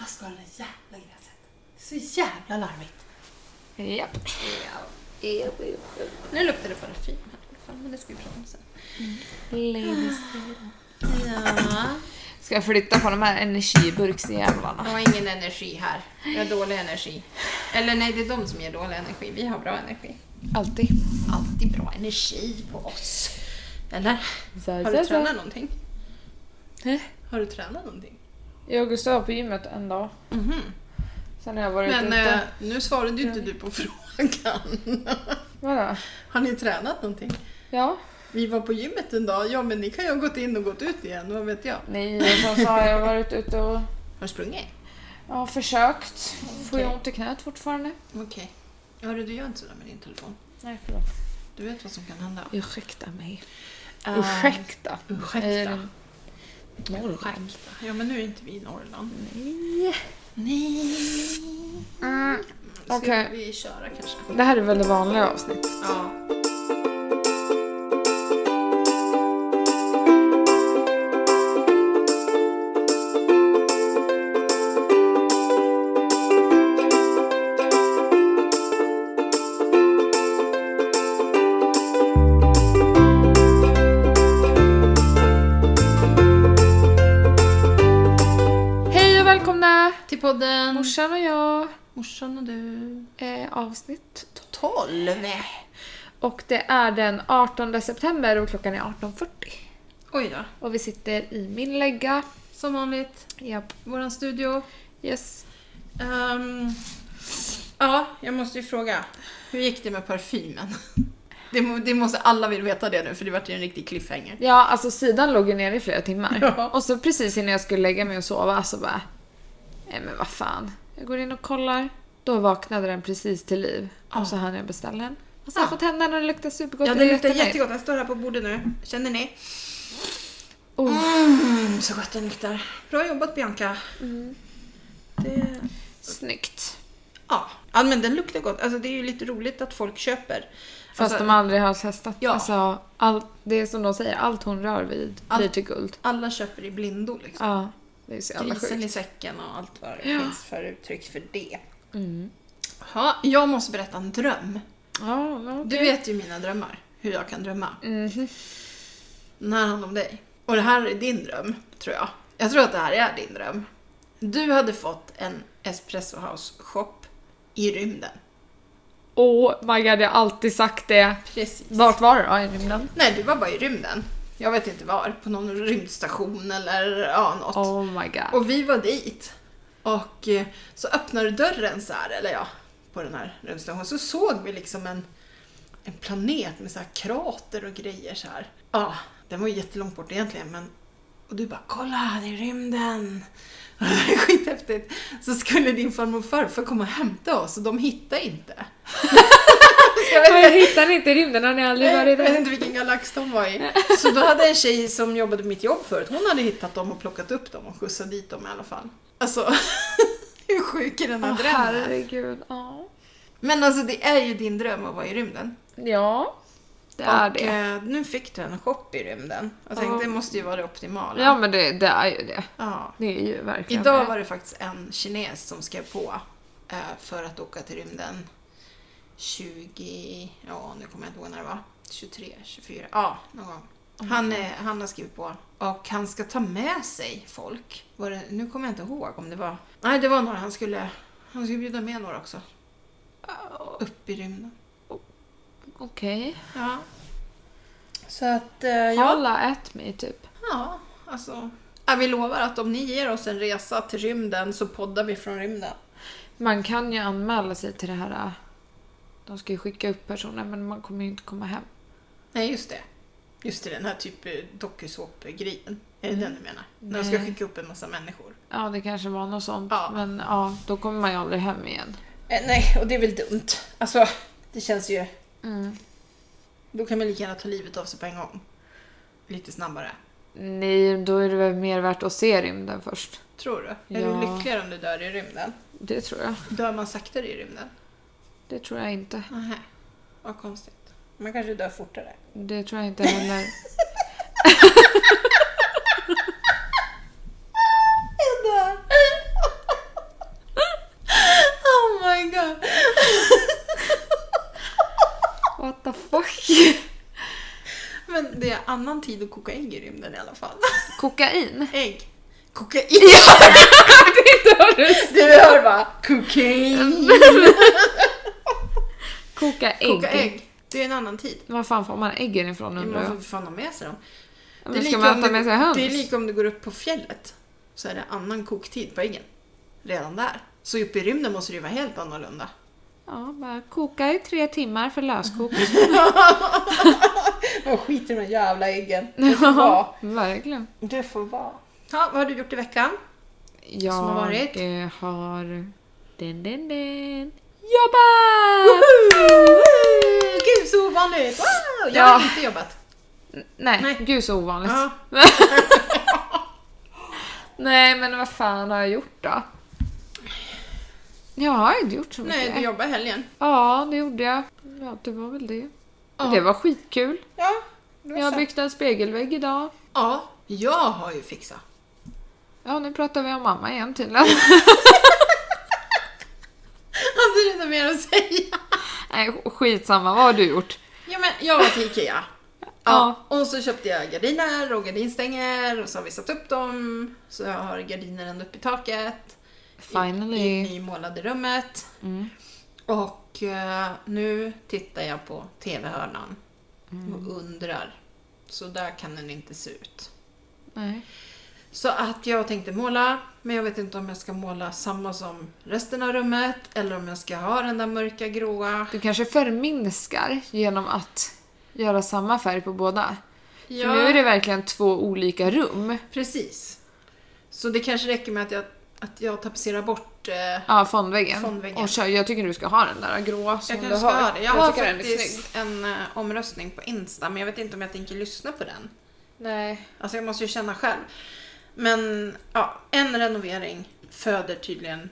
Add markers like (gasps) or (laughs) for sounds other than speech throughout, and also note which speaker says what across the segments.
Speaker 1: Vad ska det där jävla gräset? Så jävla larvigt.
Speaker 2: Japp. Nu luktar det parfym här i alla fall, men det ska vi prata om sen.
Speaker 1: Ja.
Speaker 2: Ska jag flytta på de här energiburksjävlarna?
Speaker 1: Jag har ingen energi här. Jag har dålig energi. Eller nej, det är de som ger dålig energi. Vi har bra energi.
Speaker 2: Alltid.
Speaker 1: Alltid bra energi på oss. Eller?
Speaker 2: Alltså,
Speaker 1: Har du tränat någonting?
Speaker 2: Eh?
Speaker 1: Har du tränat någonting?
Speaker 2: Jag och Gustav var på gymmet en dag.
Speaker 1: Mhm.
Speaker 2: Sen har jag varit
Speaker 1: Men
Speaker 2: ute.
Speaker 1: eh, nu svarade ju inte du på (laughs) frågan.
Speaker 2: Vadå?
Speaker 1: Har ni tränat någonting?
Speaker 2: Ja.
Speaker 1: Vi var på gymmet en dag. Ja, men ni kan ju ha gått in och gått ut igen. Vad vet jag?
Speaker 2: Nej, och sen så har jag varit ute och
Speaker 1: Har du sprungit?
Speaker 2: ja, försökt. Får ju
Speaker 1: Okej.
Speaker 2: ont i knät fortfarande.
Speaker 1: Okej. Hörru, du gör inte sådär med din telefon.
Speaker 2: Nej, förlåt.
Speaker 1: Du vet vad som kan hända.
Speaker 2: Ursäkta mig.
Speaker 1: Eh,
Speaker 2: Ah. Ursäkta.
Speaker 1: ursäkta.
Speaker 2: Norrland.
Speaker 1: Ursäkta. Ja, men nu är inte vi i Norrland. Nej.
Speaker 2: Mm.
Speaker 1: Ska
Speaker 2: Okej.
Speaker 1: vi köra kanske?
Speaker 2: Det här är väl det vanliga avsnittet?
Speaker 1: Ja.
Speaker 2: Hej och välkomna!
Speaker 1: Till podden.
Speaker 2: Morsan och jag.
Speaker 1: Morsan och du.
Speaker 2: Eh, avsnitt
Speaker 1: 12.
Speaker 2: Och det är den 18 september och klockan är 18.40.
Speaker 1: Oj då.
Speaker 2: Och vi sitter i min lägga.
Speaker 1: Som vanligt,
Speaker 2: Japp.
Speaker 1: våran studio.
Speaker 2: Yes.
Speaker 1: Ehm, ja, jag måste ju fråga. Hur gick det med parfymen? (laughs) Det, må- det måste alla vill veta det nu, för det vart ju en riktig cliffhanger.
Speaker 2: Ja, alltså sidan låg ju nere i flera timmar.
Speaker 1: Ja.
Speaker 2: Och så precis innan jag skulle lägga mig och sova så bara... Nej men vad fan. Jag går in och kollar. Då vaknade den precis till liv.
Speaker 1: Ja.
Speaker 2: Och så hann jag beställa den. Och så har jag
Speaker 1: Ja.
Speaker 2: fått hem den och den luktar supergott.
Speaker 1: Ja,
Speaker 2: Jag
Speaker 1: den
Speaker 2: är
Speaker 1: luktar
Speaker 2: jättenöjd.
Speaker 1: jättegott. Den står här på bordet nu. Känner ni?
Speaker 2: Oh,
Speaker 1: Mm, så gott den luktar. Bra jobbat Bianca. Mm. Det...
Speaker 2: snyggt.
Speaker 1: Ja. ja, men den luktar gott. Alltså det är ju lite roligt att folk köper.
Speaker 2: Fast
Speaker 1: Alltså,
Speaker 2: de aldrig har testat.
Speaker 1: Ja.
Speaker 2: Alltså, allt, det är som de säger, allt hon rör vid
Speaker 1: Allt-
Speaker 2: blir till guld.
Speaker 1: Alla köper i blindo liksom.
Speaker 2: Ja, det är så jävla
Speaker 1: Grisen
Speaker 2: sjukt.
Speaker 1: i säcken och allt vad det
Speaker 2: Ja.
Speaker 1: finns för uttryck för det.
Speaker 2: Mm.
Speaker 1: Ja, jag måste berätta en dröm.
Speaker 2: Ja, ja.
Speaker 1: Du vet ju mina drömmar, hur jag kan drömma.
Speaker 2: Mhm.
Speaker 1: Den här handlar om dig. Och det här är din dröm, tror jag. Jag tror att det här är din dröm. Du hade fått en Espresso House-shop i rymden.
Speaker 2: Oh my god, jag har alltid sagt det.
Speaker 1: Precis.
Speaker 2: Vart var det då? I rymden?
Speaker 1: Nej, du var bara i rymden. Jag vet inte var. På någon rymdstation eller ja, något.
Speaker 2: Oh my god.
Speaker 1: Och vi var dit. Och eh, så öppnade dörren så här, eller ja, på den här rymdstationen. Så såg vi liksom en, en planet med så här krater och grejer så här. Ja, den var ju jättelångt bort egentligen men... Och du bara “Kolla, det är rymden!” (laughs) Och det var skithäftigt. Så skulle din farmor och farfar komma och hämta oss och de hittade inte. jag vet
Speaker 2: Men jag hittar ni inte i rymden? Har ni aldrig varit
Speaker 1: jag vet
Speaker 2: där?
Speaker 1: inte vilken galax de var i. Så då hade en tjej som jobbade på mitt jobb förut, hon hade hittat dem och plockat upp dem och skjutsat dit dem i alla fall. Alltså, (laughs) hur sjuk är den här
Speaker 2: Åh,
Speaker 1: drömmen?
Speaker 2: herregud. Ja.
Speaker 1: Men alltså det är ju din dröm att vara i rymden.
Speaker 2: Ja, det är
Speaker 1: och
Speaker 2: det.
Speaker 1: Eh, nu fick du en shop i rymden. Jag tänkte
Speaker 2: Ja.
Speaker 1: det måste ju vara det optimala.
Speaker 2: Ja, men det, det är ju det.
Speaker 1: Ja.
Speaker 2: Det är ju verkligen
Speaker 1: Idag
Speaker 2: det.
Speaker 1: var det faktiskt en kines som skrev på eh, för att åka till rymden 20, ja nu kommer jag inte ihåg när det var, 23, 24, ja någon gång. Han, är, han har skrivit på och han ska ta med sig folk. Var det, nu kommer jag inte ihåg om det var, nej det var några han skulle, han skulle bjuda med några också. Upp i rymden.
Speaker 2: Okej.
Speaker 1: Ja. Så att, eh, ja.
Speaker 2: Alla ät mig typ.
Speaker 1: Ja, alltså. Ja, vi lovar att om ni ger oss en resa till rymden så poddar vi från rymden.
Speaker 2: Man kan ju anmäla sig till det här. äh, De ska ju skicka upp personer men man kommer ju inte komma hem.
Speaker 1: Nej, just det. Just det, den här typ eh, dokusåpgrejen. Är det den du menar? När de ska
Speaker 2: Nej.
Speaker 1: skicka upp en massa människor.
Speaker 2: Ja, det kanske var något sånt.
Speaker 1: Ja.
Speaker 2: Men ja, då kommer man ju aldrig hem igen.
Speaker 1: Eh, nej, och det är väl dumt. Alltså, det känns ju...
Speaker 2: Mm.
Speaker 1: Då kan man lika gärna ta livet av sig på en gång. Lite snabbare.
Speaker 2: Nej, då är det väl mer värt att se rymden först.
Speaker 1: Tror du? Är
Speaker 2: Ja.
Speaker 1: du lyckligare om du dör i rymden?
Speaker 2: Det tror jag.
Speaker 1: Dör man saktare i rymden?
Speaker 2: Det tror jag inte.
Speaker 1: Nähä. Vad konstigt. Man kanske dör fortare.
Speaker 2: Det tror jag
Speaker 1: (laughs)
Speaker 2: inte heller.
Speaker 1: (laughs) Jag dör! Oh annan tid att koka ägg i rymden i alla fall. (laughs)
Speaker 2: Kokain?
Speaker 1: Ägg. Kokain! Du hör bara
Speaker 2: (laughs)
Speaker 1: kokain.
Speaker 2: Koka ägg.
Speaker 1: Koka ägg. Det är en annan tid.
Speaker 2: Var fan får man äggen ifrån undrar
Speaker 1: Man får
Speaker 2: jag?
Speaker 1: för fan ha med sig dem.
Speaker 2: Ja,
Speaker 1: Det är,
Speaker 2: Men ska
Speaker 1: lika
Speaker 2: man
Speaker 1: om
Speaker 2: äta
Speaker 1: du,
Speaker 2: med sig höns?
Speaker 1: det är lika om du går upp på fjället. Så är det annan koktid på äggen. Redan där. Så uppe i rymden måste det ju vara helt annorlunda.
Speaker 2: Ja, bara koka i tre timmar för löskok.
Speaker 1: Och skit i de jävla
Speaker 2: (laughs)
Speaker 1: äggen.
Speaker 2: Ja,
Speaker 1: Mm.
Speaker 2: (laughs) verkligen.
Speaker 1: Det får vara. Ja, vad har du gjort i veckan?
Speaker 2: Jag
Speaker 1: har varit?
Speaker 2: eh, har... Den, den, den. Jobbat!
Speaker 1: Woho! Gud så ovanligt! Wow! Jag har
Speaker 2: Ja.
Speaker 1: inte jobbat.
Speaker 2: Nej,
Speaker 1: Nej.
Speaker 2: gud så ovanligt.
Speaker 1: Ja.
Speaker 2: Nej, men vad fan har jag gjort då? Jag har inte gjort så mycket.
Speaker 1: Nej, du jobbar i helgen.
Speaker 2: Ja, det gjorde jag. Ja, det var väl det.
Speaker 1: Ja.
Speaker 2: Det var skitkul.
Speaker 1: Ja, det var
Speaker 2: Jag har
Speaker 1: så.
Speaker 2: byggt en spegelvägg idag.
Speaker 1: ja, jag har ju fixat.
Speaker 2: Ja, nu pratar vi om mamma
Speaker 1: (laughs)
Speaker 2: igen tydligen.
Speaker 1: Hade du inte mer att säga?
Speaker 2: Nej, skitsamma. Vad har du gjort?
Speaker 1: Ja, men jag var till
Speaker 2: (laughs)
Speaker 1: Ikea. Ja. Och så köpte jag gardiner och gardinstänger och så har vi satt upp dem. Så jag har gardiner ända upp i taket. I,
Speaker 2: Finally.
Speaker 1: i målade rummet.
Speaker 2: Mm.
Speaker 1: Och eh, nu tittar jag på TV-hörnan
Speaker 2: Mm.
Speaker 1: och undrar. Så där kan den inte se ut.
Speaker 2: Nej.
Speaker 1: Så att jag tänkte måla, men jag vet inte om jag ska måla samma som resten av rummet eller om jag ska ha den där mörka gråa.
Speaker 2: Du kanske förminskar genom att göra samma färg på båda. För
Speaker 1: Ja,
Speaker 2: nu är det verkligen två olika rum.
Speaker 1: precis. Så det kanske räcker med att jag, att jag tapetserar bort... Eh,
Speaker 2: Ja, fondväggen.
Speaker 1: Fondväggen.
Speaker 2: Och kör, jag tycker du ska ha den där gråa som
Speaker 1: jag
Speaker 2: du
Speaker 1: kanske
Speaker 2: har.
Speaker 1: ska ha det. Jag
Speaker 2: jag
Speaker 1: har
Speaker 2: tycker den är snygg.
Speaker 1: faktiskt en eh, omröstning på Insta, men jag vet inte om jag tänker lyssna på den.
Speaker 2: Nej.
Speaker 1: Alltså jag måste ju känna själv. Men ja, en renovering föder tydligen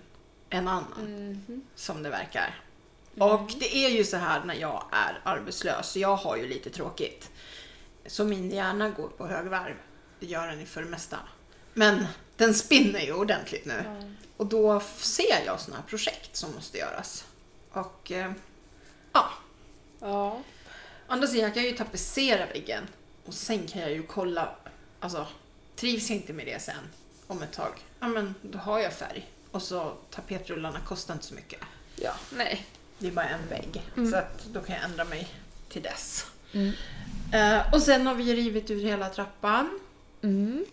Speaker 1: en annan.
Speaker 2: Mm. Mhm.
Speaker 1: Som det verkar. Och det är ju så här när jag är arbetslös, jag har ju lite tråkigt. Så min hjärna går på högvarv. Det gör den ju för det mesta. Men den spinner ju ordentligt nu. Och då f- ser jag såna här projekt som måste göras. Och eh, ja,
Speaker 2: Ja.
Speaker 1: Å andra sidan jag kan ju tapetsera väggen och sen kan jag ju kolla, alltså trivs jag inte med det sen om ett tag, ja men då har jag färg. Och så tapetrullarna kostar inte så mycket.
Speaker 2: Ja. Nej.
Speaker 1: Det är bara en vägg. Så att då kan jag ändra mig till dess.
Speaker 2: Mm.
Speaker 1: Eh, och sen har vi ju rivit ur hela trappan.
Speaker 2: Mm.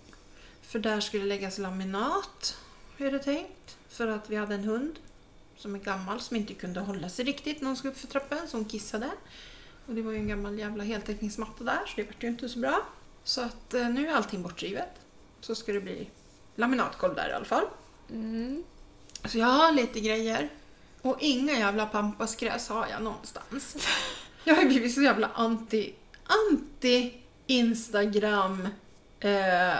Speaker 1: För där skulle läggas laminat. Hur är det tänkt? För att vi hade en hund som är gammal som inte kunde hålla sig riktigt när hon skulle upp för trappen så hon kissade. Och det var ju en gammal jävla heltäckningsmatta där så det vart ju inte så bra. Så att eh, nu är allting bortrivet. Så ska det bli laminatgolv där i alla fall.
Speaker 2: Mm.
Speaker 1: Så jag har lite grejer. Och inga jävla pampasgräs har jag någonstans. (laughs) Jag har ju blivit så jävla anti, anti Instagram, eh,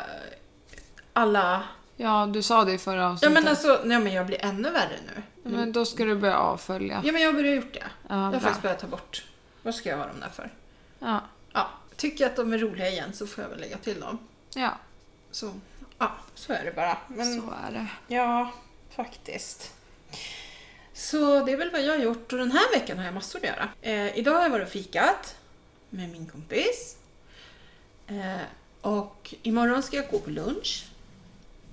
Speaker 1: alla...
Speaker 2: Ja, du sa det i förra
Speaker 1: Ja
Speaker 2: avsnittet.
Speaker 1: men alltså, nej men jag blir ännu värre nu.
Speaker 2: Men då ska du börja avfölja.
Speaker 1: Ja men jag har börjat gjort det. Jag
Speaker 2: Ja,
Speaker 1: har
Speaker 2: bra.
Speaker 1: faktiskt börjat ta bort. Vad ska jag ha dem där för?
Speaker 2: Ja.
Speaker 1: Ja, tycker jag att de är roliga igen så får jag väl lägga till dem.
Speaker 2: ja,
Speaker 1: Så, ja, så är det bara. Men
Speaker 2: så är det.
Speaker 1: ja, faktiskt. Så det är väl vad jag har gjort och den här veckan har jag massor att göra. Eh, idag har jag varit och fikat med min kompis. Eh, och imorgon ska jag gå på lunch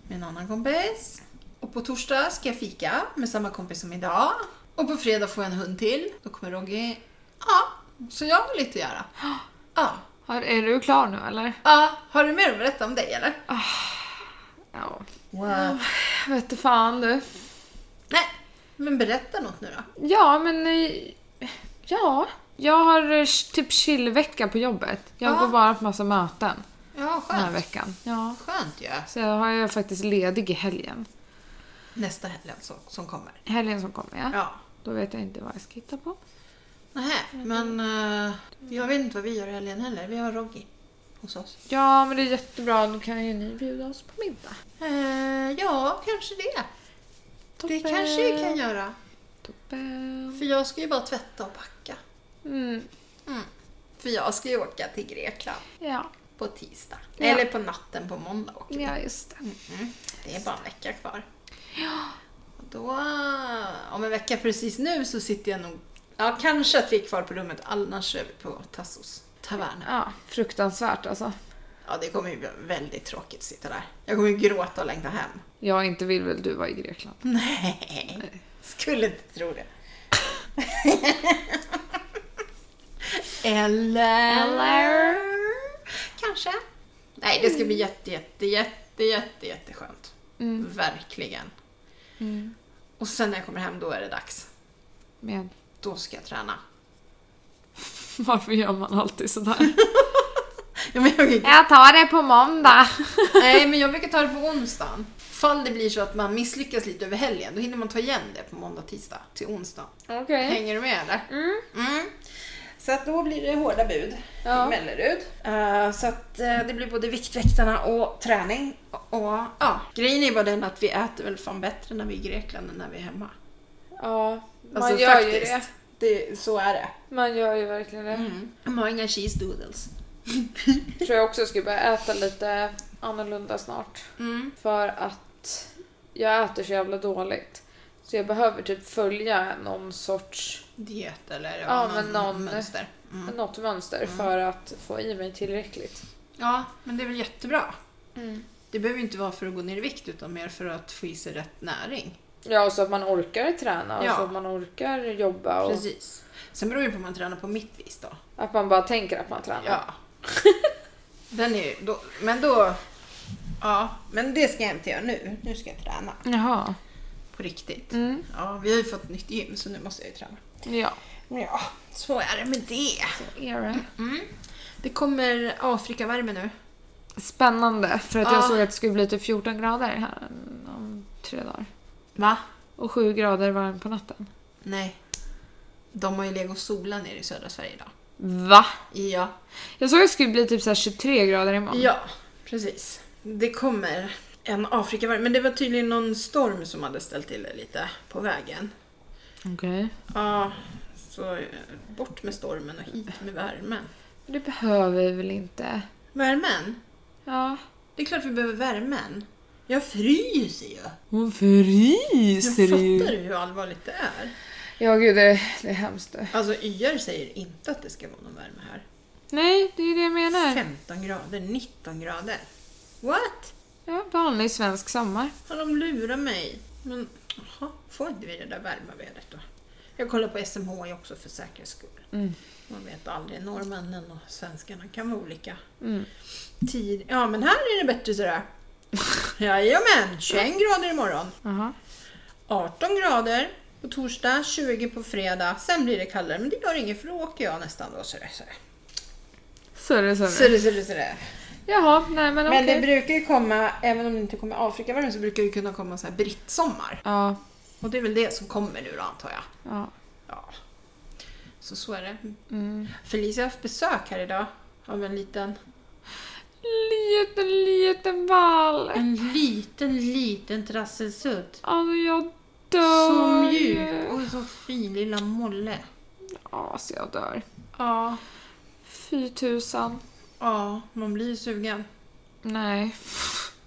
Speaker 1: med en annan kompis. Och på torsdag ska jag fika med samma kompis som idag. Och på fredag får jag en hund till. Då kommer Rogge. Ja, så jag har lite att göra. Ja,
Speaker 2: Har, är du klar nu eller?
Speaker 1: ja. Har du mer att berätta om dig eller?
Speaker 2: Ja.
Speaker 1: Wow.
Speaker 2: Jag vet inte fan du.
Speaker 1: Nej, men berätta något nu då.
Speaker 2: Ja, men... eh, Ja. Jag har eh, typ chillvecka på jobbet. Jag
Speaker 1: Ja.
Speaker 2: går bara på massa möten
Speaker 1: Ja,
Speaker 2: den här
Speaker 1: skönt.
Speaker 2: veckan. Ja.
Speaker 1: Skönt ju.
Speaker 2: Så jag har ju faktiskt ledig i helgen.
Speaker 1: Nästa helg alltså, som kommer.
Speaker 2: Helgen som kommer ja.
Speaker 1: Ja.
Speaker 2: Då vet jag inte vad jag ska hitta på.
Speaker 1: Nähä, men eh, jag vet inte vad vi gör i helgen heller. Vi har Roggy hos oss.
Speaker 2: Ja, men det är jättebra. Då kan ju ni bjuda oss på middag.
Speaker 1: Eh, ja, kanske det. Det
Speaker 2: Toppen.
Speaker 1: kanske vi kan göra.
Speaker 2: Toppen.
Speaker 1: För jag ska ju bara tvätta och packa.
Speaker 2: Mm.
Speaker 1: För jag ska ju åka till Grekland
Speaker 2: Ja.
Speaker 1: på tisdag.
Speaker 2: Ja.
Speaker 1: Eller på natten på måndag åker vi.
Speaker 2: ja, just det.
Speaker 1: Det är bara en vecka kvar. Och då, eh, om en vecka precis nu så sitter jag nog... Ja, kanske att vi är kvar på rummet. Annars är vi på Tassos. taverna.
Speaker 2: Ja, fruktansvärt alltså.
Speaker 1: Ja, det kommer ju bli väldigt tråkigt att sitta där. Jag kommer ju gråta och längta hem.
Speaker 2: Jag inte vill väl du vara i Grekland?
Speaker 1: Nej, skulle inte tro det. Eller...
Speaker 2: Eller?
Speaker 1: Kanske. Nej, det ska bli jätte, jätte, jätte, jätte, jätteskönt. Verkligen.
Speaker 2: Mm.
Speaker 1: Och sen när jag kommer hem, då är det dags.
Speaker 2: Men (laughs)
Speaker 1: Då ska jag träna.
Speaker 2: varför gör man alltid sådär?
Speaker 1: Ja, men jag,
Speaker 2: (laughs) Jag tar det på måndag.
Speaker 1: nej, men jag brukar ta det på onsdagen. Fall det blir så att man misslyckas lite över helgen, då hinner man ta igen det på måndag, tisdag till onsdag.
Speaker 2: Okej.
Speaker 1: Hänger du med eller?
Speaker 2: Mm.
Speaker 1: Mm. Så att då blir det hårda bud
Speaker 2: Ja.
Speaker 1: i Mellerud. Eh, så att eh, det blir både Viktväktarna och träning. Och, och, ja. Grejen är bara den att vi äter väl fan bättre när vi är i Grekland än när vi är hemma.
Speaker 2: Ja, man
Speaker 1: Alltså,
Speaker 2: gör ju det.
Speaker 1: faktiskt. det. Så är det.
Speaker 2: Man gör ju verkligen det.
Speaker 1: De har inga cheese doodles.
Speaker 2: Tror jag också ska börja äta lite annorlunda snart.
Speaker 1: Mm.
Speaker 2: För att jag äter så jävla dåligt. Så jag behöver typ följa någon sorts,
Speaker 1: Diet eller
Speaker 2: Ja, men någon-
Speaker 1: mönster. Mm.
Speaker 2: något mönster för att få i mig tillräckligt.
Speaker 1: Ja, men det är väl jättebra. Det behöver ju inte vara för att gå ner i vikt utan mer för att få i sig rätt näring.
Speaker 2: Ja, och så att man orkar träna och
Speaker 1: Ja.
Speaker 2: så att man orkar jobba och
Speaker 1: Precis. Sen beror det ju på om man tränar på mitt vis då.
Speaker 2: att man bara tänker att man tränar.
Speaker 1: Ja. Den är ju, då, men då... Ja, men det ska jag inte göra nu. Nu ska jag träna.
Speaker 2: Jaha.
Speaker 1: På riktigt.
Speaker 2: Mm.
Speaker 1: Ja, vi har ju fått nytt gym så nu måste jag ju träna.
Speaker 2: Ja.
Speaker 1: Ja, så är det med det.
Speaker 2: Är det.
Speaker 1: Det kommer Afrikavärme nu.
Speaker 2: Spännande, för att
Speaker 1: Ja.
Speaker 2: jag såg att det skulle bli typ 14 grader här om tre dagar.
Speaker 1: Va?
Speaker 2: Och 7 grader varmt på natten.
Speaker 1: Nej. De har ju legat och solat nere i södra Sverige idag.
Speaker 2: Va?
Speaker 1: Ja.
Speaker 2: Jag såg att det skulle bli typ så här 23 grader imorgon.
Speaker 1: Ja, precis. Det kommer en Afrikavärme. Men det var tydligen någon storm som hade ställt till det lite på vägen.
Speaker 2: Okej.
Speaker 1: Ja, så eh, bort med stormen och hit med värmen.
Speaker 2: Men det behöver vi väl inte?
Speaker 1: Värmen?
Speaker 2: Ja.
Speaker 1: Det är klart vi behöver värmen. Jag fryser ju.
Speaker 2: Hon
Speaker 1: Jag
Speaker 2: fryser
Speaker 1: fattar du hur allvarligt det är?
Speaker 2: Ja gud, det, det är hemskt.
Speaker 1: Alltså YR säger inte att det ska vara någon värme här.
Speaker 2: Nej, det är ju det jag menar.
Speaker 1: 15 grader, 19 grader. What?
Speaker 2: Ja, vanlig svensk sommar.
Speaker 1: Har de lurat mig? Men jaha, får inte vi det där varma vädret då? Jag kollar på SMHI också för säkerhets skull.
Speaker 2: Mm.
Speaker 1: Man vet aldrig, norrmännen och svenskarna kan vara olika.
Speaker 2: Mm.
Speaker 1: Tid. Ja men här är det bättre
Speaker 2: (laughs)
Speaker 1: sådär. Jajamän, 21 grader imorgon.
Speaker 2: Jaha.
Speaker 1: 18 grader på torsdag, 20 på fredag. Sen blir det kallare, men det gör inget för då åker jag nästan då. Sådär, sådär.
Speaker 2: Sorry, sorry.
Speaker 1: Sådär, sådär, sådär.
Speaker 2: Jaha, nej men okej.
Speaker 1: Men det brukar ju komma, även om det inte kommer Afrikavärme, så brukar det kunna komma så här brittsommar.
Speaker 2: Ja,
Speaker 1: Och det är väl det som kommer nu då antar jag.
Speaker 2: ja.
Speaker 1: Ja. Så så är det.
Speaker 2: Mm.
Speaker 1: Felicia har haft besök här idag av en liten,
Speaker 2: Liten, liten valp.
Speaker 1: en liten, liten trasselsud.
Speaker 2: Alltså jag dör.
Speaker 1: Så
Speaker 2: ju.
Speaker 1: mjuk och så fin lilla Molle.
Speaker 2: Ja, alltså jag dör.
Speaker 1: Ja.
Speaker 2: Fy tusan.
Speaker 1: Ja, man blir ju sugen.
Speaker 2: Nej.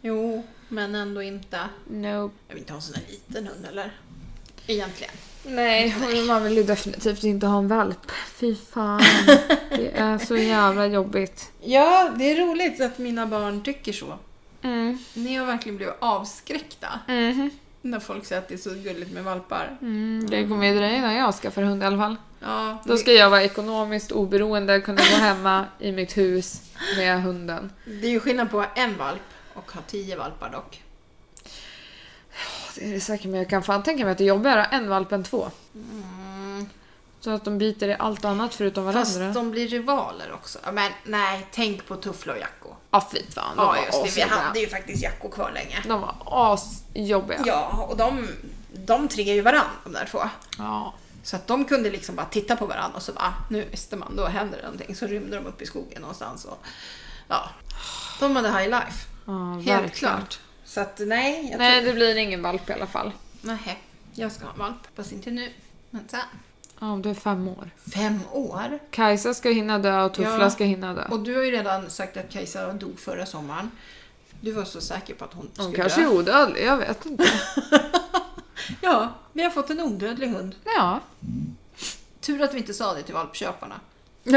Speaker 1: Jo, men ändå inte.
Speaker 2: Nope.
Speaker 1: Jag vill inte ha en sån här liten hund eller? Egentligen.
Speaker 2: (laughs) Nej, och man vill ju definitivt inte ha en valp.
Speaker 1: (laughs)
Speaker 2: Fy fan. Det är så jävla jobbigt.
Speaker 1: Ja, det är roligt att mina barn tycker så.
Speaker 2: Mm.
Speaker 1: Ni har verkligen blivit avskräckta när folk säger att det är så gulligt med valpar.
Speaker 2: Mhm. Mm. Det kommer ju dröja innan jag skaffar hund i alla fall.
Speaker 1: Ja,
Speaker 2: Då ska jag vara ekonomiskt oberoende, kunna gå hemma i mitt hus med hunden.
Speaker 1: det, det är ju skillnad på en valp och ha tio valpar dock.
Speaker 2: Åh, Det är det säkert, men jag kan fan tänka mig att det är jobbigare att ha en valp än två. Så att de biter i allt annat förutom
Speaker 1: Mm. Fast
Speaker 2: varandra.
Speaker 1: de blir rivaler också. Ja, Men nej, tänk på Tuffla och Jacko.
Speaker 2: Ja, fy fan. De
Speaker 1: Ja,
Speaker 2: var
Speaker 1: just det. Vi
Speaker 2: asjobbiga.
Speaker 1: hade ju faktiskt Jacko kvar länge.
Speaker 2: De var asjobbiga.
Speaker 1: Ja, och de, de triggar ju varann de där två.
Speaker 2: Ja.
Speaker 1: Så att de kunde liksom bara titta på varandra och så bara, "Ah, nu visste man, då händer det någonting. Så rymde de upp i skogen någonstans och ja. De hade high life.
Speaker 2: Ja,
Speaker 1: Helt
Speaker 2: verkligen.
Speaker 1: klart. Så att nej, jag
Speaker 2: Nej, det blir ingen valp i alla fall.
Speaker 1: tror... Nähä, jag ska ha en valp. Fast inte nu, men sen.
Speaker 2: Ja, om du är fem år.
Speaker 1: Fem år?
Speaker 2: Kajsa ska hinna dö och Tuffla
Speaker 1: Ja.
Speaker 2: ska hinna dö.
Speaker 1: Och du har ju redan sagt att Kajsa dog förra sommaren. Du var så säker på att hon
Speaker 2: Hon
Speaker 1: skulle
Speaker 2: kanske
Speaker 1: dö.
Speaker 2: är odödlig, jag vet inte.
Speaker 1: Ja, vi har fått en odödlig hund.
Speaker 2: Ja.
Speaker 1: Tur att vi inte sa det till valpköparna.
Speaker 2: (laughs)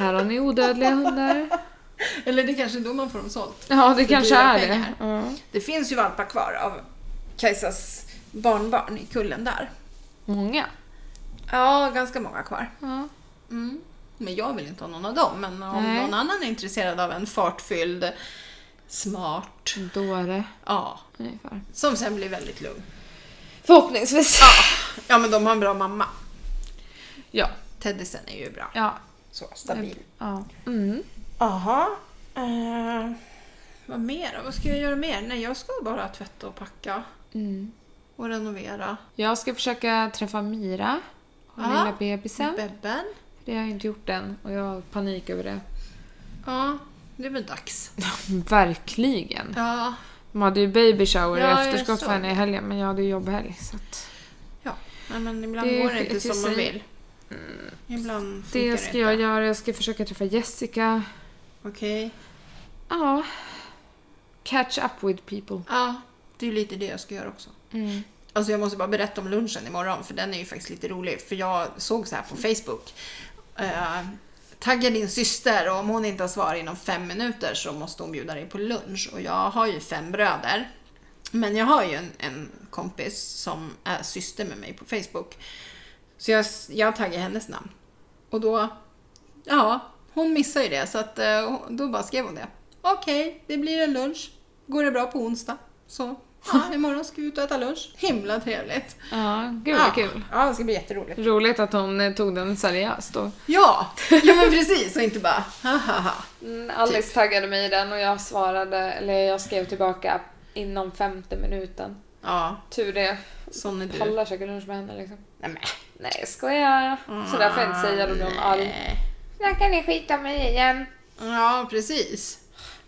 Speaker 2: Här har ni odödliga hundar.
Speaker 1: Eller det är kanske är då man får dem sålt.
Speaker 2: Ja, det kanske
Speaker 1: dyra
Speaker 2: är det.
Speaker 1: pengar.
Speaker 2: Ja.
Speaker 1: Det finns ju valpar kvar av Kajsas barnbarn i kullen där.
Speaker 2: Många.
Speaker 1: Ja, ganska många kvar.
Speaker 2: Ja.
Speaker 1: Mm. Men jag vill inte ha någon av dem. Men om
Speaker 2: Nej.
Speaker 1: någon annan är intresserad av en fartfylld, smart,
Speaker 2: Dåre,
Speaker 1: ja,
Speaker 2: ungefär.
Speaker 1: som sen blir väldigt lugn.
Speaker 2: Förhoppningsvis.
Speaker 1: Ja, men de har en bra mamma.
Speaker 2: Ja.
Speaker 1: Teddisen är ju bra.
Speaker 2: Ja.
Speaker 1: Så stabil.
Speaker 2: ja. Mm.
Speaker 1: Jaha. Eh, vad mer då? Vad ska jag göra mer? Nej, jag ska bara tvätta och packa
Speaker 2: Mm.
Speaker 1: och renovera.
Speaker 2: Jag ska försöka träffa Mira, hon
Speaker 1: Ja.
Speaker 2: lilla bebisen.
Speaker 1: Bebben.
Speaker 2: Det har jag inte gjort än och jag har panik över det.
Speaker 1: Ja, det blir dags.
Speaker 2: Verkligen.
Speaker 1: Ja,
Speaker 2: De hade ju baby shower
Speaker 1: Ja,
Speaker 2: i
Speaker 1: jag
Speaker 2: efterskott för
Speaker 1: såg
Speaker 2: henne i helgen men jag hade ju jobbhelg. Så att
Speaker 1: nej, men ibland
Speaker 2: Det
Speaker 1: går det inte
Speaker 2: finns ju
Speaker 1: som man
Speaker 2: så-
Speaker 1: vill. Ibland funkar
Speaker 2: Mm. det ska
Speaker 1: inte.
Speaker 2: jag göra. Jag ska försöka träffa Jessica.
Speaker 1: Okej.
Speaker 2: Ja. Catch up with people.
Speaker 1: Ja, det är ju lite det jag ska göra också.
Speaker 2: Mm.
Speaker 1: Alltså jag måste bara berätta om lunchen imorgon för den är ju faktiskt lite rolig. För jag såg så här på Facebook. Eh, tagga din syster och om hon inte har svar inom fem minuter så måste hon bjuda dig på lunch. Och jag har ju fem bröder. Men jag har ju en, en kompis som är syster med mig på Facebook. Så jag, s- jag taggade hennes namn. Och då, ja, hon missar ju det. Så att, eh, då bara skrev hon det. Okej, det blir en lunch. Går det bra på onsdag? Så ja,
Speaker 2: (laughs)
Speaker 1: imorgon ska vi ut och äta lunch. Himla trevligt.
Speaker 2: Ja, gud
Speaker 1: ja.
Speaker 2: vad kul.
Speaker 1: Ja, det ska bli jätteroligt.
Speaker 2: Roligt att hon eh, tog den seriöst. Och...
Speaker 1: Ja, ja men precis. Och inte bara ha ha ha.
Speaker 2: Mm, Alice taggade mig i den och jag svarade, eller jag skrev tillbaka inom femte minuten.
Speaker 1: Ja,
Speaker 2: Tur det.
Speaker 1: sån är du.
Speaker 2: Pallar käka lunch med henne liksom.
Speaker 1: Nej, men.
Speaker 2: Nej jag skojar. Så där får jag inte säga, då blir hon arg.
Speaker 1: Nej.
Speaker 2: Mm. Där kan ni skita mig igen.
Speaker 1: Ja, precis.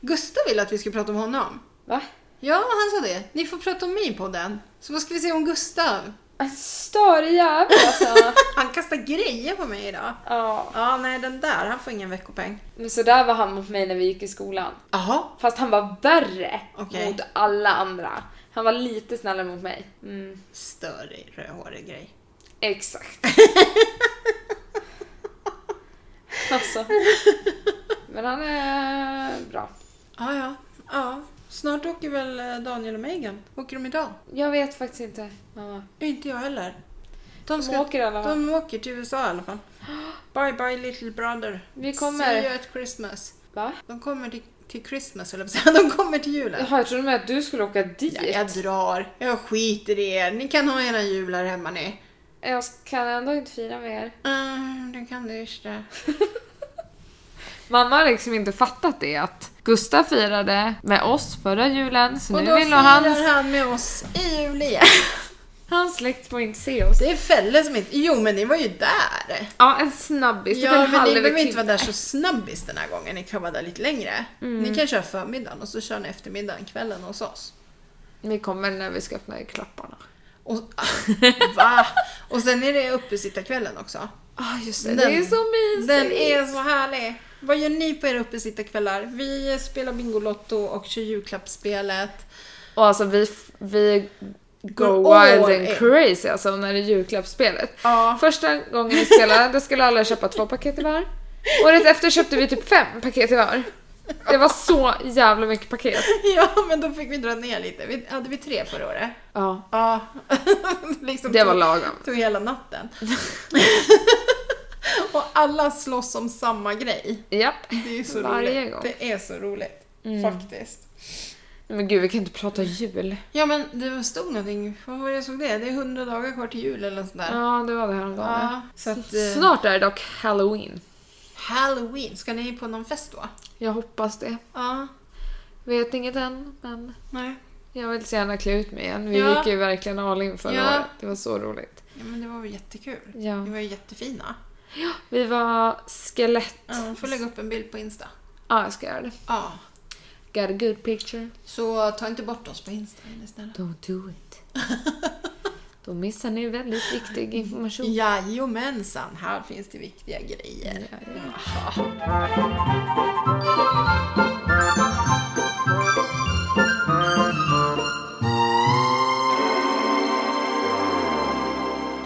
Speaker 1: Gustav vill att vi ska prata om honom.
Speaker 2: Va?
Speaker 1: Ja, han sa det. Ni får prata om mig på den. Så vad ska vi säga om Gustav?
Speaker 2: En större jävel (laughs) alltså.
Speaker 1: Han kastar grejer på mig idag.
Speaker 2: ja.
Speaker 1: Ja, nej den där, han får ingen veckopeng.
Speaker 2: Men så där var han mot mig när vi gick i skolan.
Speaker 1: Jaha.
Speaker 2: Fast han var värre
Speaker 1: Okej.
Speaker 2: mot alla andra. Han var lite snällare mot mig. Mm.
Speaker 1: Störig rödhårig grej.
Speaker 2: (laughs) Exakt. alltså. Men han är bra.
Speaker 1: Ja, ja. ja. Snart åker väl eh, Daniel och Megan? Åker de idag?
Speaker 2: Jag vet faktiskt inte, mamma.
Speaker 1: Inte jag heller. De,
Speaker 2: De åker i alla fall.
Speaker 1: de åker till USA i alla fall. (gasps) Bye bye little brother.
Speaker 2: Vi
Speaker 1: See you
Speaker 2: kommer...
Speaker 1: at Christmas.
Speaker 2: Va?
Speaker 1: De kommer till, till Christmas eller säga. De kommer till julen.
Speaker 2: Jaha, jag trodde med att du skulle åka dit.
Speaker 1: Ja, jag drar. Jag skiter i er. Ni kan ha era jular hemma ni.
Speaker 2: Jag kan ändå inte fira med er.
Speaker 1: Mm, det kan du inte.
Speaker 2: Mamma har liksom inte fattat det att Gustav firade med oss förra julen så
Speaker 1: Och
Speaker 2: nu
Speaker 1: då
Speaker 2: vill
Speaker 1: firar
Speaker 2: hans,
Speaker 1: han med oss i jul (laughs) igen.
Speaker 2: hans släkt får inte se oss.
Speaker 1: Det är Felle som inte... Jo, men ni var ju där!
Speaker 2: Ja, en snabbis. Det var
Speaker 1: Ja, men
Speaker 2: en
Speaker 1: ni
Speaker 2: halv
Speaker 1: behöver
Speaker 2: timme.
Speaker 1: inte vara där så snabbis den här gången. Ni kan vara där lite längre. Ni kan köra förmiddagen och så kör ni eftermiddagen, kvällen hos oss.
Speaker 2: Vi kommer när vi ska öppna klapparna.
Speaker 1: Och, va? Och sen är det uppesittarkvällen också.
Speaker 2: Ah, just det.
Speaker 1: Den-
Speaker 2: det är så mysigt.
Speaker 1: Den är så härlig! Vad gör ni på era uppesittarkvällar? Vi spelar Bingolotto och kör julklappsspelet.
Speaker 2: Och alltså vi, f- vi
Speaker 1: Går
Speaker 2: go wild
Speaker 1: all
Speaker 2: and
Speaker 1: in.
Speaker 2: crazy alltså när det är julklappsspelet.
Speaker 1: Ja.
Speaker 2: Första gången vi spelade då skulle alla köpa två paket i var. Året efter köpte vi typ fem paket i var. Det var så jävla mycket paket.
Speaker 1: (laughs) Ja, men då fick vi dra ner lite. Vi, hade vi tre förra året?
Speaker 2: Ja,
Speaker 1: Ja. (laughs) liksom
Speaker 2: det
Speaker 1: tog-
Speaker 2: var lagom.
Speaker 1: tog hela natten. (laughs) och alla slåss om samma grej.
Speaker 2: Japp.
Speaker 1: Det är ju så
Speaker 2: Varje
Speaker 1: roligt.
Speaker 2: gång. Mm.
Speaker 1: Det är så roligt. Faktiskt.
Speaker 2: Men gud, vi kan inte prata jul.
Speaker 1: Ja men det stod någonting, vad var det jag såg det? Det är 100 dagar kvar till jul eller nåt sånt där.
Speaker 2: Ja, det var det häromdagen.
Speaker 1: Ja, så att, eh,
Speaker 2: Snart är det dock halloween.
Speaker 1: Halloween, ska ni på någon fest då?
Speaker 2: Jag hoppas det.
Speaker 1: Ja,
Speaker 2: Vet inget än, men
Speaker 1: nej.
Speaker 2: jag vill så gärna klä ut mig igen. Vi
Speaker 1: Ja.
Speaker 2: gick ju verkligen all in förra
Speaker 1: Ja.
Speaker 2: året. Det var så roligt.
Speaker 1: Ja, men det var väl jättekul.
Speaker 2: Ja.
Speaker 1: Ni var ju jättefina.
Speaker 2: Vi var skelett.
Speaker 1: Ja, man får lägga upp en bild på Insta.
Speaker 2: Ja, jag ska göra det.
Speaker 1: Ja,
Speaker 2: Got a good picture.
Speaker 1: så ta inte bort oss på Insta är ni snälla.
Speaker 2: Don't do (laughs) it. Då missar ni väldigt viktig information.
Speaker 1: Jajamensan, här finns det viktiga grejer.
Speaker 2: Ja, ja. Åh,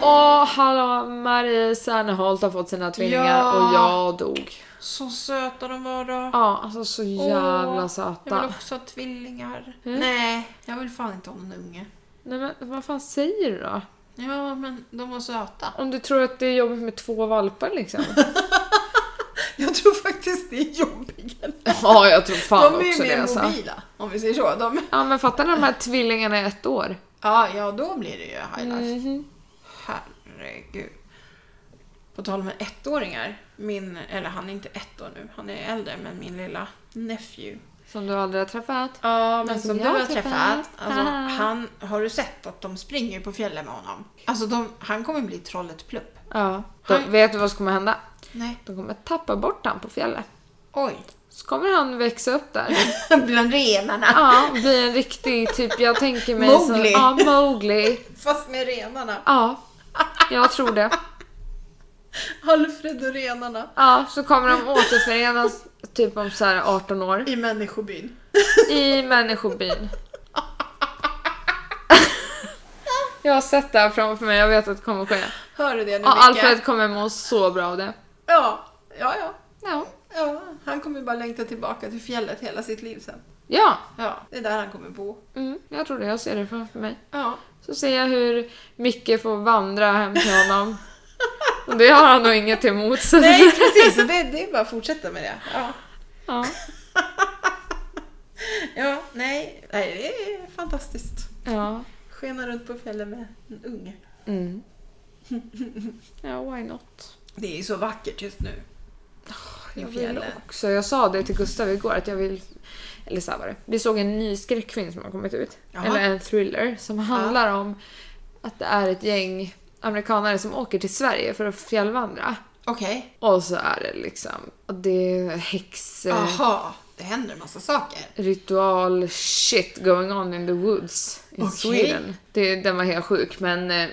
Speaker 2: Ja, hallå, Marie Serneholt har fått sina tvillingar
Speaker 1: Ja.
Speaker 2: och jag dog.
Speaker 1: Så söta de var då.
Speaker 2: Ja, alltså så jävla
Speaker 1: Åh, Jag
Speaker 2: söta.
Speaker 1: vill också ha tvillingar.
Speaker 2: Mm.
Speaker 1: Nej, jag vill fan inte ha någon unge.
Speaker 2: Nej men vad fan säger du då?
Speaker 1: Ja, men de var söta.
Speaker 2: Om du tror att det är jobbigt med två valpar liksom?
Speaker 1: Jag tror faktiskt det är jobbigare.
Speaker 2: (laughs) ja, jag tror fan
Speaker 1: de är
Speaker 2: också
Speaker 1: ju
Speaker 2: det
Speaker 1: mer
Speaker 2: alltså.
Speaker 1: mobila, om vi säger så. De...
Speaker 2: Ja men fattar ni de här tvillingarna i ett år?
Speaker 1: Ja, ja, då blir det ju high life.
Speaker 2: Mhm.
Speaker 1: Herregud. På tal om ettåringar. Min, eller han är inte ett år nu, han är äldre, men min lilla nephew.
Speaker 2: Som du aldrig har träffat?
Speaker 1: Ja, men
Speaker 2: Men
Speaker 1: som
Speaker 2: som
Speaker 1: du
Speaker 2: jag
Speaker 1: har
Speaker 2: Alltså, träffat.
Speaker 1: träffat. Alltså,
Speaker 2: Ah.
Speaker 1: han, har du sett att de springer på fjällen med honom? Alltså, de, han kommer bli trollet plupp.
Speaker 2: Ja. Då,
Speaker 1: Han-
Speaker 2: vet du vad som kommer hända?
Speaker 1: Nej.
Speaker 2: De kommer tappa bort han på fjället.
Speaker 1: Oj. (laughs)
Speaker 2: Så kommer han växa upp där.
Speaker 1: Bland renarna.
Speaker 2: Ja,
Speaker 1: (laughs)
Speaker 2: och bli en riktig typ, jag tänker mig så-
Speaker 1: Mowgli.
Speaker 2: Ja, Mowgli.
Speaker 1: Fast med renarna.
Speaker 2: Ja, jag tror det.
Speaker 1: Alfred och renarna.
Speaker 2: Ja, så kommer de återförenas typ om så här 18 år
Speaker 1: I människobyn.
Speaker 2: i människobyn. Jag har sett det här framför mig, jag vet att det kommer ske.
Speaker 1: (laughs) Hör du det nu,
Speaker 2: Ja,
Speaker 1: Micke?
Speaker 2: Alfred kommer må så bra av det.
Speaker 1: Ja, ja, ja.
Speaker 2: Ja.
Speaker 1: Ja, han kommer bara längta tillbaka till fjället hela sitt liv sen.
Speaker 2: Ja,
Speaker 1: Ja, det är där han kommer bo.
Speaker 2: mm, jag tror det. Jag ser det framför mig. (laughs)
Speaker 1: Ja.
Speaker 2: Så ser jag hur Micke får vandra hem till
Speaker 1: (laughs)
Speaker 2: honom. Och det har han nog inget emot. Så.
Speaker 1: Nej, precis. Så Det, det är bara att fortsätta med det. Ja,
Speaker 2: Ja.
Speaker 1: ja nej. nej, det är fantastiskt.
Speaker 2: ja.
Speaker 1: Skena runt på fjällen med en unge.
Speaker 2: Mm. (laughs) Ja, why not?
Speaker 1: Det är ju så vackert just nu.
Speaker 2: Jag
Speaker 1: I
Speaker 2: vill
Speaker 1: fjällen.
Speaker 2: också. Jag sa det till Gustav igår att jag vill... Eller så här var det. Vi såg en ny skräckfilm som har kommit ut.
Speaker 1: Jaha.
Speaker 2: Eller en thriller som handlar om att det är ett gäng amerikanare som åker till Sverige för att fjällvandra.
Speaker 1: Okej.
Speaker 2: Och så är det liksom... Och det är häx... eh,
Speaker 1: Jaha, det händer en massa saker.
Speaker 2: ritual shit going on in the woods in
Speaker 1: Okej.
Speaker 2: Sweden. Det, den var helt sjuk men eh,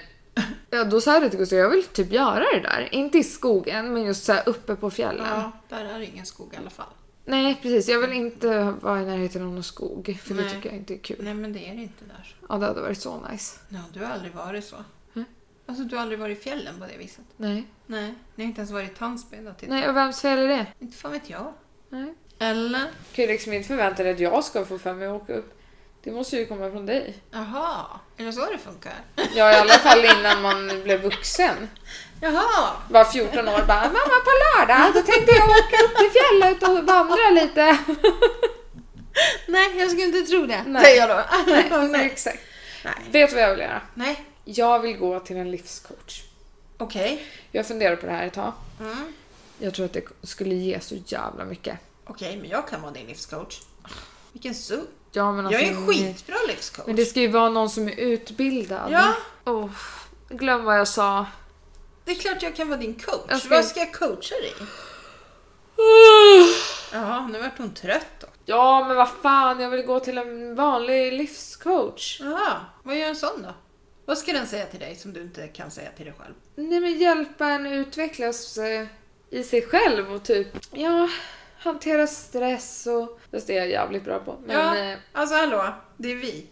Speaker 2: ja, då sa jag det till Gustav, jag vill typ göra det där. Inte i skogen men just så här uppe på fjällen.
Speaker 1: Ja, där är ingen skog i alla fall.
Speaker 2: Nej precis, jag vill inte vara i närheten av någon skog för
Speaker 1: Nej.
Speaker 2: det tycker jag inte är kul.
Speaker 1: Nej, men det är det inte där.
Speaker 2: Ja det hade varit så nice.
Speaker 1: Ja, du har aldrig varit så.
Speaker 2: Mm.
Speaker 1: Alltså, du har aldrig varit i fjällen på det viset.
Speaker 2: Nej.
Speaker 1: Nej, ni har inte ens varit i Tandsbyn och tittat.
Speaker 2: Nej och vems fel är det?
Speaker 1: Inte fan vet jag.
Speaker 2: Nej.
Speaker 1: Eller?
Speaker 2: Kan ju liksom inte förvänta dig att jag ska få för mig att åka upp. Det måste ju komma från dig.
Speaker 1: Jaha, är det så det funkar? (laughs)
Speaker 2: Ja i alla fall innan man blev vuxen.
Speaker 1: Jaha!
Speaker 2: var 14 år bara “Mamma på lördag då tänkte jag åka upp till fjället och vandra lite”.
Speaker 1: Nej, jag skulle inte tro det.
Speaker 2: Nej.
Speaker 1: Säger jag då. (laughs) Nej.
Speaker 2: Nej, (laughs) exakt.
Speaker 1: Nej.
Speaker 2: Vet du vad jag vill göra?
Speaker 1: Nej.
Speaker 2: Jag vill gå till en livscoach.
Speaker 1: Okej.
Speaker 2: Jag funderar på det här ett tag.
Speaker 1: Mm.
Speaker 2: Jag tror att det skulle ge så jävla mycket.
Speaker 1: Okej, men jag kan vara din livscoach. Vilken suck.
Speaker 2: Ja, men
Speaker 1: Alltså, Jag är en
Speaker 2: nej.
Speaker 1: skitbra livscoach.
Speaker 2: Men det ska ju vara någon som är utbildad.
Speaker 1: Ja.
Speaker 2: Åh, glöm vad jag sa.
Speaker 1: Det är klart jag kan vara din coach.
Speaker 2: Jag ska-
Speaker 1: Vad ska jag coacha (sighs) dig i? Jaha, nu vart hon trött då.
Speaker 2: Ja, men vad fan, jag vill gå till en vanlig livscoach.
Speaker 1: Jaha, vad gör en sån då? Vad ska den säga till dig som du inte kan säga till dig själv?
Speaker 2: Nej men hjälpa en utvecklas eh, i sig själv och typ, ja, hantera stress och... Fast det är jag jävligt bra på. Men,
Speaker 1: ja,
Speaker 2: eh,
Speaker 1: alltså hallå, det är vi.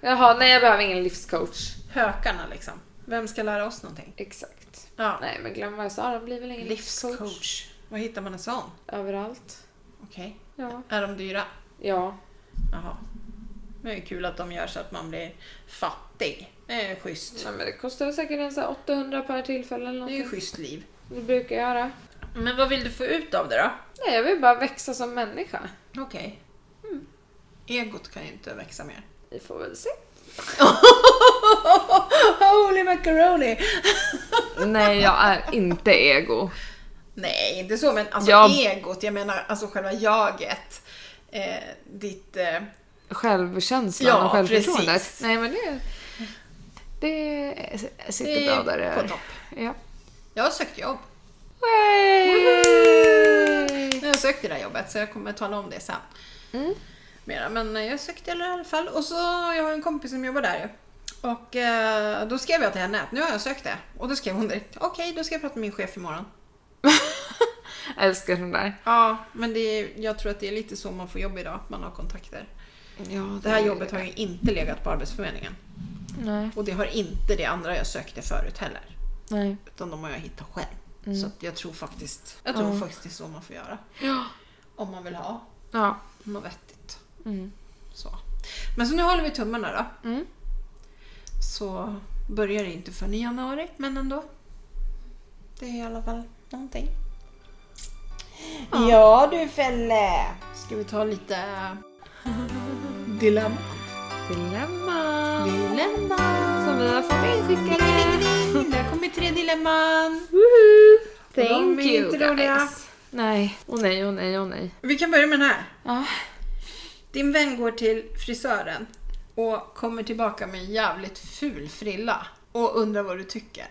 Speaker 2: jaha, nej jag behöver ingen livscoach.
Speaker 1: Hökarna liksom. Vem ska lära oss någonting?
Speaker 2: Exakt.
Speaker 1: Ja.
Speaker 2: Nej men glöm vad jag sa, det blir väl ingen livscoach.
Speaker 1: Livscoach. Var hittar man en sån?
Speaker 2: Överallt.
Speaker 1: Okej.
Speaker 2: Ja.
Speaker 1: Är de dyra?
Speaker 2: Ja.
Speaker 1: Jaha. Men Det är kul att de gör så att man blir fattig. Det är schysst.
Speaker 2: Nej, men det kostar säkert en så här 800 per tillfälle eller
Speaker 1: Det är ju
Speaker 2: någonting.
Speaker 1: schysst liv.
Speaker 2: Det brukar jag göra.
Speaker 1: Men vad vill du få ut av det då?
Speaker 2: Nej jag vill bara växa som människa.
Speaker 1: Okej. Mm. Egot kan ju inte växa mer.
Speaker 2: Vi får väl se.
Speaker 1: (laughs) Holy macaroni!
Speaker 2: Nej jag är inte ego.
Speaker 1: Nej, inte så, men alltså
Speaker 2: Jag-
Speaker 1: egot, jag menar alltså själva jaget. Eh, ditt... Eh,
Speaker 2: Självkänslan
Speaker 1: Ja,
Speaker 2: och självförtroendet.
Speaker 1: precis.
Speaker 2: Nej men det... Det sitter
Speaker 1: det
Speaker 2: bra
Speaker 1: är
Speaker 2: där det
Speaker 1: på
Speaker 2: är.
Speaker 1: topp.
Speaker 2: Ja.
Speaker 1: Jag har sökt jobb.
Speaker 2: Hey!
Speaker 1: Jag har sökt det där jobbet så jag kommer tala om det sen.
Speaker 2: Mm.
Speaker 1: Mera, men eh, jag sökte i alla fall och så jag har en kompis som jobbar där ju. Och eh, då skrev jag till henne att nu har jag sökt det. Och då skrev hon direkt, okej då ska jag prata med min chef imorgon.
Speaker 2: Älskar sån där.
Speaker 1: Ja, men det är, jag tror att det är lite så man får jobb idag, att man har kontakter.
Speaker 2: Ja,
Speaker 1: Det här jobbet har ju inte legat på Arbetsförmedlingen.
Speaker 2: Nej.
Speaker 1: Och det har inte det andra jag sökte förut heller.
Speaker 2: Nej.
Speaker 1: Utan de har jag hittat själv.
Speaker 2: Mm.
Speaker 1: Så att jag tror faktiskt jag tror
Speaker 2: Ja.
Speaker 1: faktiskt det är så man får göra.
Speaker 2: Ja.
Speaker 1: Om man vill ha
Speaker 2: Ja.
Speaker 1: något vettigt.
Speaker 2: Mm.
Speaker 1: Så. Men så nu håller vi tummarna då.
Speaker 2: Mm.
Speaker 1: Så börjar det inte förrän i januari, men ändå. Det är i alla fall någonting. Ja.
Speaker 3: Ja du Felle!
Speaker 1: Ska vi ta lite (laughs) dilemma?
Speaker 2: Dilemma.
Speaker 1: Dilemma!
Speaker 2: Som vi har fått inskickade.
Speaker 1: Det har kommit tre dilemman!
Speaker 2: Woohoo!
Speaker 1: De
Speaker 2: Thank
Speaker 1: är
Speaker 2: you
Speaker 1: inte roliga.
Speaker 2: guys. Nej. Åh nej, åh nej, åh nej.
Speaker 1: Vi kan börja med den här.
Speaker 2: Ja.
Speaker 1: Din vän går till frisören och kommer tillbaka med en jävligt ful frilla och undrar vad du tycker.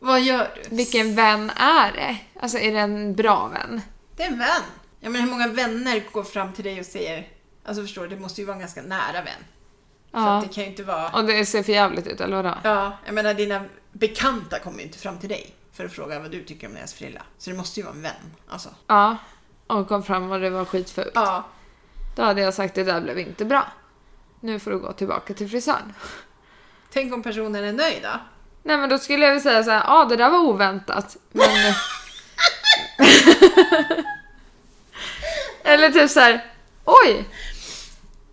Speaker 1: Vad gör du?
Speaker 2: Vilken vän är det? Alltså är det en bra vän?
Speaker 1: Det är en vän. Ja, men hur många vänner går fram till dig och säger... Alltså förstår du, det måste ju vara en ganska nära vän. Så
Speaker 2: Ja.
Speaker 1: att det kan ju inte vara...
Speaker 2: Och det ser för jävligt ut, eller vadå?
Speaker 1: Ja, jag menar dina bekanta kommer ju inte fram till dig för att fråga vad du tycker om deras frilla. Så det måste ju vara en vän. Alltså.
Speaker 2: Ja. Och kom fram och det var skitfult.
Speaker 1: Ja,
Speaker 2: Då hade jag sagt det där blev inte bra. Nu får du gå tillbaka till frisören.
Speaker 1: tänk om personen är nöjd då?
Speaker 2: Nej men då skulle jag väl säga så här, ja ah, det där var oväntat. Men... (laughs) Eller typ så här, oj!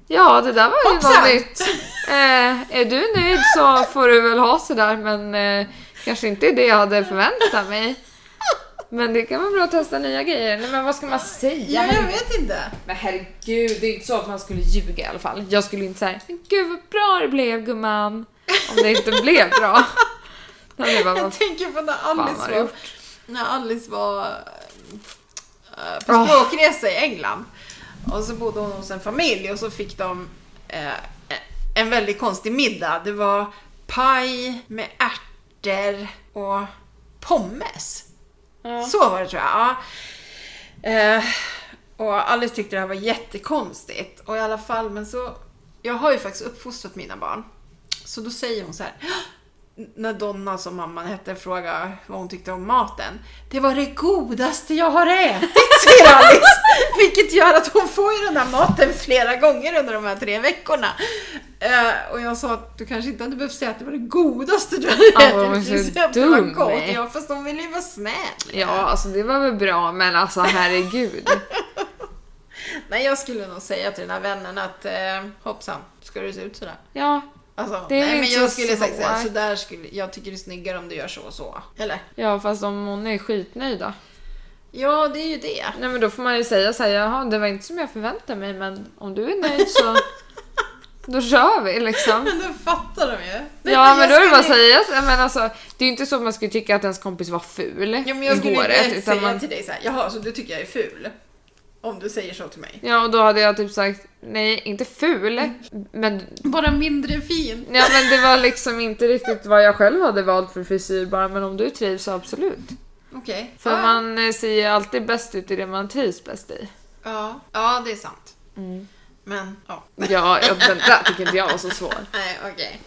Speaker 2: Ja det där var ju
Speaker 1: Hoppsan!
Speaker 2: något nytt. Eh, är du nöjd så får du väl ha sådär men eh, kanske inte det jag hade förväntat mig. Men det kan vara bra att testa nya grejer. Nej men vad ska man säga?
Speaker 1: Ja, jag vet inte.
Speaker 2: Men herregud, det är inte så att man skulle ljuga i alla fall. Jag skulle inte säga men gud vad bra det blev gumman. Om det inte blev bra. Då hade jag bara,
Speaker 1: Jag
Speaker 2: vad
Speaker 1: tänker på när
Speaker 2: har
Speaker 1: Alice
Speaker 2: du
Speaker 1: var,
Speaker 2: gjort?
Speaker 1: när Alice var eh, på
Speaker 2: Ah.
Speaker 1: språkresa i England. Och så bodde hon hos en familj och så fick de eh, en väldigt konstig middag. Det var paj med ärtor och pommes.
Speaker 2: Ja.
Speaker 1: Så var det tror jag. Ja. Eh, och Alice tyckte det här var jättekonstigt. Och i alla fall, men så... Jag har ju faktiskt uppfostrat mina barn. Så då säger hon så här. "Hå!" När Donna, som mamman hette, frågade vad hon tyckte om maten. Det var det godaste jag har ätit, (laughs) säger Alice. Vilket gör att hon får ju den här maten flera gånger under de här tre veckorna. Eh, och jag sa att du kanske inte hade behövt säga att det var det godaste du hade
Speaker 2: Ja,
Speaker 1: ätit.
Speaker 2: hon är
Speaker 1: Du
Speaker 2: så
Speaker 1: säger att det var
Speaker 2: dum.
Speaker 1: gott. Ja, fast de ville ju vara snäll.
Speaker 2: ja alltså det var väl bra men alltså herregud.
Speaker 1: Nej, jag skulle nog säga till den här vännen att eh, hoppsan, ska du se ut sådär?
Speaker 2: Ja,
Speaker 1: Alltså,
Speaker 2: Det är väl
Speaker 1: nej, men
Speaker 2: inte
Speaker 1: jag
Speaker 2: så
Speaker 1: skulle säkert säga
Speaker 2: svårt.
Speaker 1: sådär skulle, jag tycker det är snyggare om du gör så och så. Eller?
Speaker 2: ja fast om hon är skitnöjd då?
Speaker 1: Ja, det är ju det.
Speaker 2: Nej men då får man ju säga så här, jaha det var inte som jag förväntade mig men om du är nöjd så då kör vi liksom.
Speaker 1: Men då fattar de ju. Nej,
Speaker 2: Ja
Speaker 1: jag
Speaker 2: men då är det bara att
Speaker 1: skulle-
Speaker 2: säga, så- men alltså det är ju inte så att man skulle tycka att ens kompis var ful
Speaker 1: Ja, men jag
Speaker 2: i
Speaker 1: skulle ju
Speaker 2: håret.
Speaker 1: direkt
Speaker 2: Utan
Speaker 1: säga
Speaker 2: man,
Speaker 1: till dig såhär, jaha, så du tycker jag är ful? Om du säger så till mig.
Speaker 2: Ja, och då hade jag typ sagt nej, inte ful, men,
Speaker 1: Bara mindre fin.
Speaker 2: ja, men det var liksom inte riktigt vad jag själv hade valt för frisyr bara, men om du trivs så absolut.
Speaker 1: Okej.
Speaker 2: För
Speaker 1: Ja.
Speaker 2: man eh, ser ju alltid bäst ut i det man trivs bäst i.
Speaker 1: Ja. ja, det är sant.
Speaker 2: Mm.
Speaker 1: Men, ja.
Speaker 2: Ja, ja, den där tycker inte jag var så svår.
Speaker 1: Nej, okej.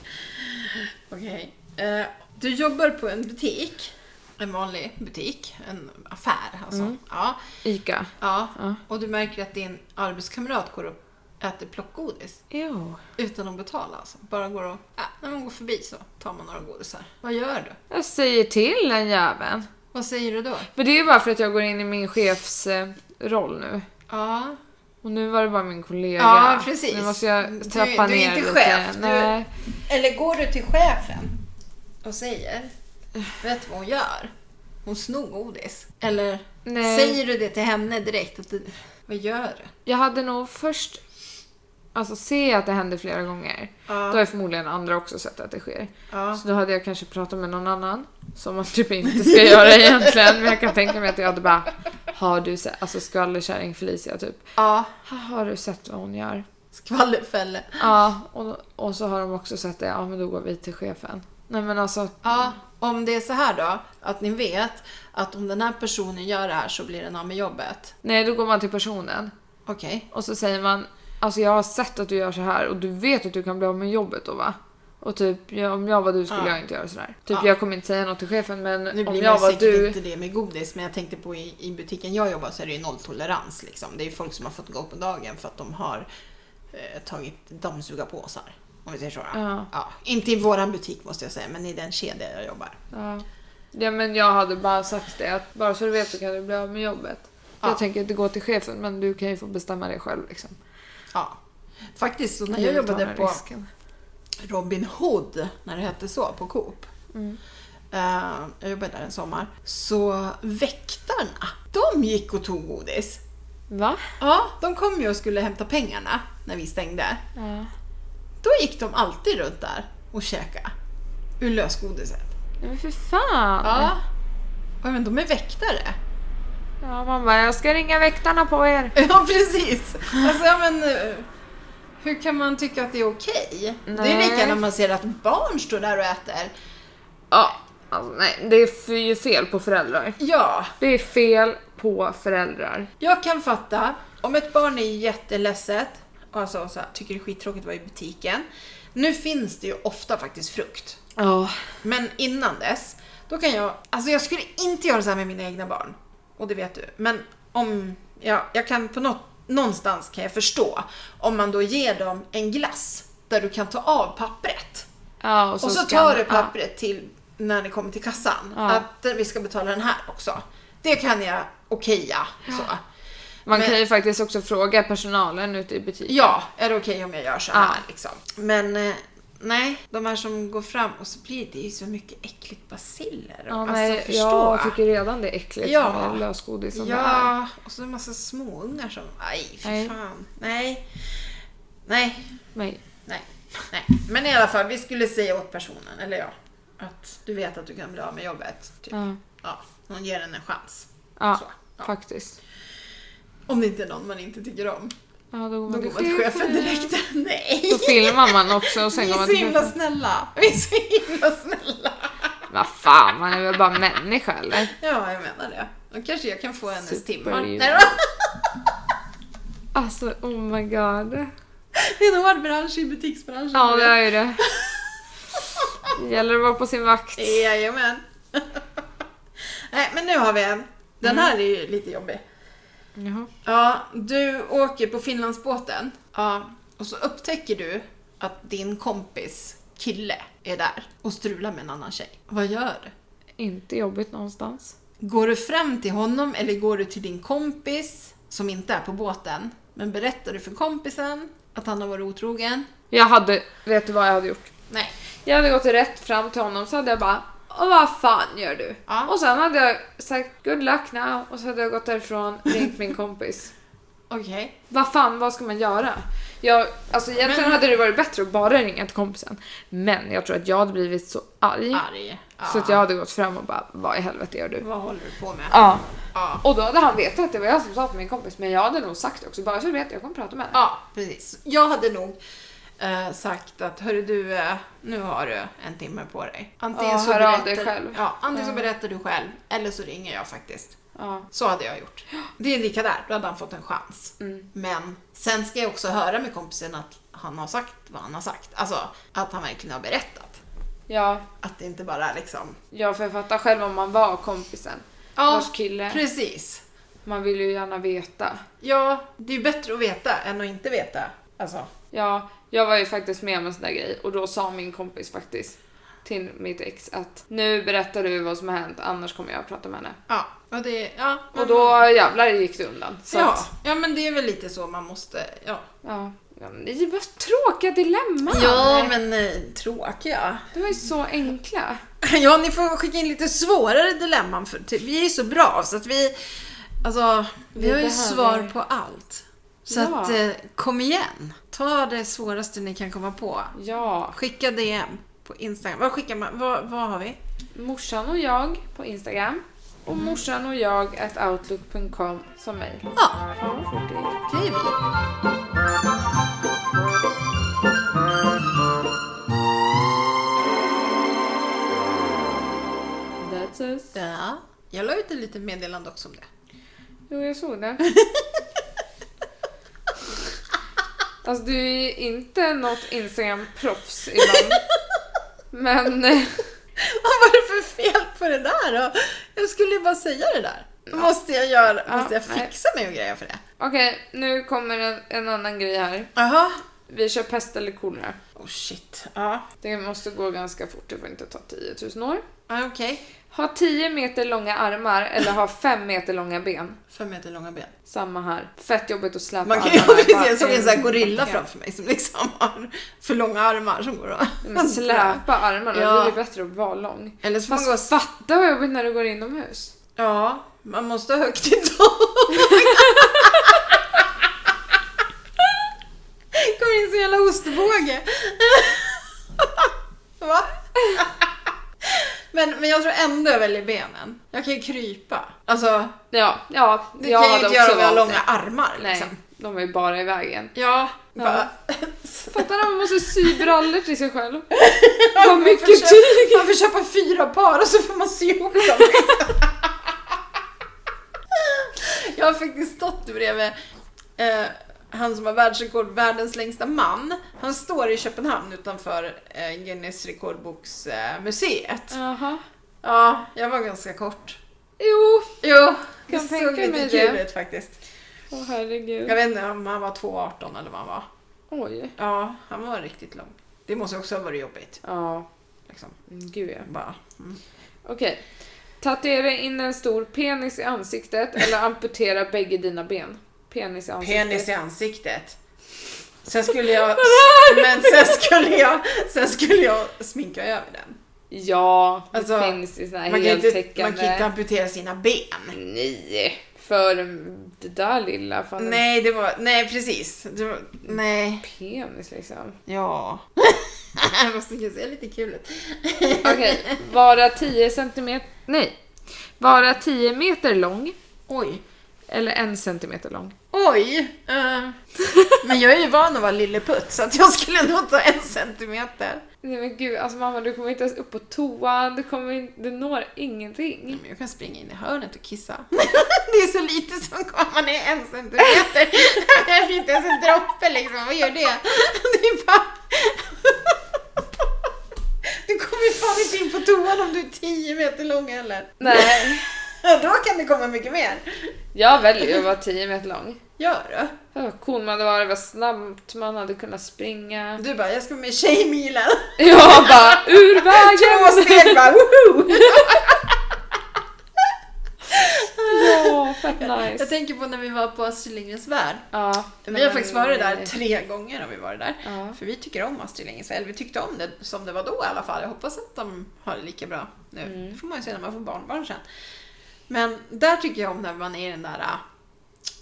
Speaker 1: Okej. Eh, du jobbar på en butik. En vanlig butik. En affär alltså. Ja,
Speaker 2: Ica.
Speaker 1: ja.
Speaker 2: Ja.
Speaker 1: Och du märker att din arbetskamrat går och äter plockgodis.
Speaker 2: Jo.
Speaker 1: Utan att betala alltså. Bara går och... Äh, när man går förbi så tar man några godisar. Vad gör du?
Speaker 2: Jag säger till den jäveln.
Speaker 1: Vad säger du då?
Speaker 2: Men det är ju bara för att jag går in i min chefs eh, roll nu.
Speaker 1: Ja,
Speaker 2: Och nu var det bara min kollega.
Speaker 1: Ja, precis.
Speaker 2: Nu måste
Speaker 1: Du-
Speaker 2: jag trappa
Speaker 1: du är
Speaker 2: ner
Speaker 1: inte
Speaker 2: lite.
Speaker 1: chef, du-
Speaker 2: Nej.
Speaker 1: Eller går du till chefen och säger, vet du vad hon gör? Hon snor godis. Eller
Speaker 2: Nej.
Speaker 1: säger du det till henne direkt? Att du, vad gör du?
Speaker 2: Jag hade nog först... Alltså se att det hände flera gånger. Då har
Speaker 1: Ja,
Speaker 2: ju förmodligen andra också sett att det sker.
Speaker 1: ja.
Speaker 2: Så då hade jag kanske pratat med någon annan. Som man typ inte
Speaker 1: (laughs)
Speaker 2: ska göra egentligen. Men jag kan tänka mig att jag hade bara... Har du sett... Alltså skvallerkärring Felicia typ.
Speaker 1: ja.
Speaker 2: "Ha, Har du sett vad hon gör?
Speaker 1: Skvallerfälle.
Speaker 2: Ja. Och, och så har de också sett det. Ja men då går vi till chefen. Nej men alltså...
Speaker 1: Ja, om det är så här då, att ni vet att om den här personen gör det här så blir den av med jobbet.
Speaker 2: Nej då går man till personen.
Speaker 1: Okej.
Speaker 2: Och så säger man Alltså jag har sett att du gör så här och du vet att du kan bli av med jobbet då va? Och typ ja, om jag var du skulle
Speaker 1: Ja.
Speaker 2: jag inte göra sådär. Typ
Speaker 1: Ja.
Speaker 2: jag kommer inte säga något till chefen
Speaker 1: Nu
Speaker 2: men om
Speaker 1: blir
Speaker 2: jag
Speaker 1: jag
Speaker 2: var
Speaker 1: säkert
Speaker 2: du.
Speaker 1: inte det med godis, men jag tänkte på i, i butiken jag jobbar så är det ju nolltolerans. Liksom. Det är ju folk som har fått gå på dagen för att de har eh, tagit dammsugarpåsar. Om vi säger så. då.
Speaker 2: Ja.
Speaker 1: Ja, inte i våran butik måste jag säga, men i den kedja jag jobbar.
Speaker 2: Ja. ja men jag hade bara sagt det att bara så du vet så kan du bli av med jobbet.
Speaker 1: Ja.
Speaker 2: Jag tänker inte gå till chefen men du kan ju få bestämma det själv liksom.
Speaker 1: Ja. Faktiskt, så när
Speaker 2: Du
Speaker 1: jag
Speaker 2: tar
Speaker 1: jobbade
Speaker 2: den
Speaker 1: på
Speaker 2: risken.
Speaker 1: Robin Hood, när det hette så, på Coop.
Speaker 2: Mm.
Speaker 1: Eh, jag jobbade där en sommar. Så väktarna, de gick och tog godis.
Speaker 2: Va?
Speaker 1: Ja, de kom ju och skulle hämta pengarna när vi stängde.
Speaker 2: Ja.
Speaker 1: Då gick de alltid runt där och käkade ur lösgodiset.
Speaker 2: Nej, Men för fan!
Speaker 1: Ja. ja, men de är väktare. (laughs)
Speaker 2: Ja, man bara, jag ska ringa väktarna på er.
Speaker 1: Ja, precis. Alltså, ja, men, eh, hur kan man tycka att det är okej? Det är
Speaker 2: Nej.
Speaker 1: lika när man ser att barn står där och äter.
Speaker 2: Ja, alltså, nej, det är f- ju fel på föräldrar.
Speaker 1: Ja,
Speaker 2: Det är fel på föräldrar.
Speaker 1: jag kan fatta om ett barn är jätteledset och alltså, så här, tycker det är skittråkigt att vara i butiken. Nu finns det ju ofta faktiskt frukt.
Speaker 2: Ja.
Speaker 1: Men innan dess, då kan jag... Alltså jag skulle inte göra så här med mina egna barn. Och det vet du. Men om... Ja, jag kan på något, någonstans kan jag förstå om man då ger dem en glass där du kan ta av pappret.
Speaker 2: ja och så,
Speaker 1: Och så
Speaker 2: ska-
Speaker 1: tar du pappret till när ni kommer till kassan.
Speaker 2: Ja.
Speaker 1: Att eh, vi ska betala den här också. Det kan jag okeja. Så.
Speaker 2: Ja. Man
Speaker 1: Men-
Speaker 2: kan ju faktiskt också fråga personalen ute i butiken.
Speaker 1: Ja, är det okej om jag gör så här?
Speaker 2: Ja.
Speaker 1: Liksom. Men eh, nej, de här som går fram och så blir det ju så mycket äckligt basiller.
Speaker 2: Ja,
Speaker 1: alltså,
Speaker 2: nej, jag typ tycker redan det är äckligt
Speaker 1: Ja.
Speaker 2: med lösgodis som det är.
Speaker 1: Ja, och så en massa småungar som... Aj, för
Speaker 2: Nej.
Speaker 1: fan. Nej. Nej,
Speaker 2: Nej.
Speaker 1: nej, nej. Men i alla fall, vi skulle säga åt personen, eller jag, att du vet att du kan bli av med jobbet. Typ.
Speaker 2: Ja.
Speaker 1: Ja, hon ger den en chans.
Speaker 2: Ja,
Speaker 1: Så, ja.
Speaker 2: faktiskt.
Speaker 1: Om det inte är någon man inte tycker om.
Speaker 2: Ja, då går
Speaker 1: Då
Speaker 2: man
Speaker 1: går man till chefen direkt. (laughs) Nej!
Speaker 2: Då filmar man också och sen
Speaker 1: Vi
Speaker 2: går
Speaker 1: är
Speaker 2: man
Speaker 1: så
Speaker 2: till
Speaker 1: himla
Speaker 2: chefen. (laughs)
Speaker 1: snälla. Vi är så himla snälla.
Speaker 2: Vad fan, man är väl bara människa eller?
Speaker 1: Ja, jag menar det. Då kanske jag kan få hennes
Speaker 2: Super-
Speaker 1: timmar. Nej, då. (laughs)
Speaker 2: Alltså, oh my god.
Speaker 1: Det är en hård bransch i butiksbranschen.
Speaker 2: Ja, det är ju det. Gäller att vara på sin vakt.
Speaker 1: Jajamän. (laughs) Nej, men nu har vi en. Den
Speaker 2: Mm.
Speaker 1: här är ju lite jobbig.
Speaker 2: Jaha.
Speaker 1: Ja, du åker på Finlandsbåten. Ja, och så upptäcker du att din kompis kille är där och strular med en annan tjej. Vad gör du?
Speaker 2: Inte jobbigt någonstans.
Speaker 1: Går du fram till honom eller går du till din kompis som inte är på båten? Men berättar du för kompisen att han har varit otrogen?
Speaker 2: Jag hade, vet du vad jag hade gjort?
Speaker 1: Nej.
Speaker 2: Jag hade gått rätt fram till honom så hade jag bara "Åh, vad fan gör du?
Speaker 1: Ja.
Speaker 2: Och sen hade jag sagt good luck now och så hade jag gått därifrån ringt min kompis.
Speaker 1: Okej.
Speaker 2: Vad fan, vad ska man göra? Jag, alltså egentligen
Speaker 1: Men-
Speaker 2: hade det varit bättre att bara ringa till kompisen. Men jag tror att jag hade blivit så arg.
Speaker 1: Arg. Ja.
Speaker 2: Mm.
Speaker 1: Mm.
Speaker 2: Så att jag hade gått fram och bara, vad i helvete gör du?
Speaker 1: Vad håller du på med?
Speaker 2: Ja.
Speaker 1: Ja.
Speaker 2: Och då hade han vetat att det var jag som sa till min kompis, men jag hade nog sagt det också. Bara så du vet, jag kommer prata med henne.
Speaker 1: Ja, precis. Jag hade nog eh, sagt att hörru du, eh, nu har du en timme på dig. Antingen,
Speaker 2: Ja,
Speaker 1: så,
Speaker 2: hör av
Speaker 1: berättar,
Speaker 2: dig själv.
Speaker 1: Ja, antingen så
Speaker 2: Ja.
Speaker 1: berättar du själv eller så ringer jag faktiskt.
Speaker 2: Ja.
Speaker 1: Så hade jag gjort. Det är lika där, då hade han fått en chans.
Speaker 2: Mm.
Speaker 1: Men sen ska jag också höra med kompisen att han har sagt vad han har sagt. Alltså att han verkligen har berättat.
Speaker 2: ja.
Speaker 1: Att det inte bara är liksom...
Speaker 2: Ja, för jag fattar själv om man var kompisen. Vars kille.
Speaker 1: precis.
Speaker 2: Man vill ju gärna veta.
Speaker 1: Ja, det är ju bättre att veta än att inte veta. Alltså.
Speaker 2: Ja, jag var ju faktiskt med om en sån där grej och då sa min kompis faktiskt till mitt ex att nu berättar du vad som har hänt annars kommer jag att prata med henne.
Speaker 1: Ja, och det... Ja,
Speaker 2: Och då jävlar gick det undan. Så
Speaker 1: Mm. ja.
Speaker 2: att,
Speaker 1: ja, men det är väl lite så man måste... Ja,
Speaker 2: ja. ja men det var tråkiga dilemman!
Speaker 1: ja men eh, tråkiga.
Speaker 2: Det var ju så enkla.
Speaker 1: (laughs) Ja, ni får skicka in lite svårare dilemman. För, typ, vi är ju så bra så att vi... Alltså, vi,
Speaker 2: Vi
Speaker 1: har ju
Speaker 2: behöver-
Speaker 1: svar på allt. Så
Speaker 2: Ja.
Speaker 1: att, eh, kom igen! Ta det svåraste ni kan komma på.
Speaker 2: Ja,
Speaker 1: Skicka DM på Instagram. Vad skickar man? Vad, vad har vi?
Speaker 2: morsan och jag på Instagram och morsan och jag at outlook.com som mejl.
Speaker 1: Ja,
Speaker 2: Fan, vad fort det gick.
Speaker 1: det är vi.
Speaker 2: That's us.
Speaker 1: Ja. Jag la ut ett litet meddelande också om det.
Speaker 2: Jo, jag såg det. Alltså du är ju inte något Instagram-proffs ibland. Men eh,
Speaker 1: (laughs) Vad var det för fel på det där då? Jag skulle ju bara säga det där. Då måste jag, göra,
Speaker 2: Ja,
Speaker 1: måste jag
Speaker 2: nej.
Speaker 1: fixa mig och grejer för det.
Speaker 2: okej, nu kommer en, en annan grej här.
Speaker 1: Jaha.
Speaker 2: Vi kör pest eller kolera.
Speaker 1: Oh shit. Ja,
Speaker 2: Det måste gå ganska fort, det får inte ta 10 000 år.
Speaker 1: ja okej.
Speaker 2: Ha 10 meter långa armar eller ha 5 meter långa ben.
Speaker 1: Fem meter långa ben.
Speaker 2: Bara här. Fett jobbigt att släpa
Speaker 1: Man kan ju
Speaker 2: armarna.
Speaker 1: precis,
Speaker 2: Bara Mm.
Speaker 1: jag såg en sån här gorilla
Speaker 2: en-
Speaker 1: framför mig som liksom har för långa armar som går att
Speaker 2: Men släpa armarna,
Speaker 1: Ja.
Speaker 2: då blir det bättre att vara lång.
Speaker 1: Eller så får man gå...
Speaker 2: Fast fatta vad jobbigt när du går inomhus.
Speaker 1: Ja, man måste ha högt i
Speaker 2: (laughs)
Speaker 1: tak. Kommer in som en jävla ostbåge. (laughs) Va? Men, men jag tror ändå jag väljer benen. Jag kan ju krypa. Alltså,
Speaker 2: Ja, ja.
Speaker 1: det
Speaker 2: jag
Speaker 1: kan jag ju
Speaker 2: hade
Speaker 1: inte göra
Speaker 2: också
Speaker 1: om jag har
Speaker 2: valt
Speaker 1: långa armar
Speaker 2: det. Nej,
Speaker 1: liksom.
Speaker 2: de är ju bara
Speaker 1: (laughs)
Speaker 2: i vägen.
Speaker 1: Ja,
Speaker 2: Ja.
Speaker 1: bara...
Speaker 2: Fattar du? Man måste sy brallor till sig (laughs) själv. Vad mycket
Speaker 1: man, får
Speaker 2: tyg!
Speaker 1: köpa, man får köpa fyra par och så får man sy ihop dem. (laughs) jag har faktiskt stått bredvid eh, han som har världsrekord, världens längsta man. Han står i Köpenhamn utanför eh, Guinness rekordboksmuseet. Eh, museet.
Speaker 2: Jaha.
Speaker 1: Ja, jag var ganska kort.
Speaker 2: Jo.
Speaker 1: Jo,
Speaker 2: Kan
Speaker 1: det
Speaker 2: tänka
Speaker 1: såg lite
Speaker 2: mig
Speaker 1: kul
Speaker 2: det.
Speaker 1: ut faktiskt.
Speaker 2: Åh herregud.
Speaker 1: Jag vet inte om han var 2,18 eller vad han var.
Speaker 2: Oj.
Speaker 1: Ja, han var riktigt lång. Det måste också ha varit jobbigt.
Speaker 2: Ja,
Speaker 1: Liksom.
Speaker 2: mm, gud ja.
Speaker 1: Bara. Mm.
Speaker 2: Okej. Tatuera in en stor penis i ansiktet eller amputera bägge dina ben. Penis i ansiktet.
Speaker 1: Penis i ansiktet.
Speaker 2: (laughs)
Speaker 1: Sen skulle jag... (laughs) Men sen skulle jag, sen skulle jag sminka över den.
Speaker 2: Ja, det
Speaker 1: Alltså,
Speaker 2: finns i såna här
Speaker 1: Man kan, ju inte, man
Speaker 2: heltäckande.
Speaker 1: kan inte amputera sina ben.
Speaker 2: Nej. För det där lilla. Fan, en
Speaker 1: Nej, det var... Nej, precis. Det var, nej.
Speaker 2: penis liksom.
Speaker 1: Ja. (laughs) Fast det kan se lite kul ut.
Speaker 2: Okej, vara 10 centimeter... Nej. Vara 10 meter lång
Speaker 1: Oj.
Speaker 2: eller en centimeter lång.
Speaker 1: Oj! Eh, men jag är ju van att vara lilleputt så att jag skulle nog ta en centimeter.
Speaker 2: Nej men gud, alltså mamma du kommer inte ens upp på toan, du kommer inte, du når ingenting.
Speaker 1: Men jag kan springa in i hörnet och kissa. Det är så lite som kommer, man är en centimeter. Jag är inte ens en droppe liksom, vad gör det? Det är bara... Du kommer fan inte in på toan om du är 10 meter lång heller.
Speaker 2: Nej,
Speaker 1: Då kan det komma mycket mer.
Speaker 2: (laughs) jag väljer att vara 10 meter lång.
Speaker 1: Gör du?
Speaker 2: Det var cool man hade varit, det var snabbt, man hade kunnat (laughs) springa.
Speaker 1: Du bara, jag ska med Tjejmilen.
Speaker 2: Jag bara, ur
Speaker 1: Två
Speaker 2: vägen!
Speaker 1: steg bara, woho!
Speaker 2: (laughs) Ja, fett
Speaker 1: Jag
Speaker 2: nice.
Speaker 1: tänker på när vi var på Astrid Lindgrens Värld.
Speaker 2: Ja,
Speaker 1: Vi har faktiskt varit där tre gånger har vi varit där.
Speaker 2: Ja.
Speaker 1: För vi tycker om Astrid Lindgrens Värld. Vi tyckte om det som det var då i alla fall. Jag hoppas att de har det lika bra nu.
Speaker 2: Mm.
Speaker 1: Det får man ju se när man får barnbarn sen. Men där tycker jag om när man är i den där äh,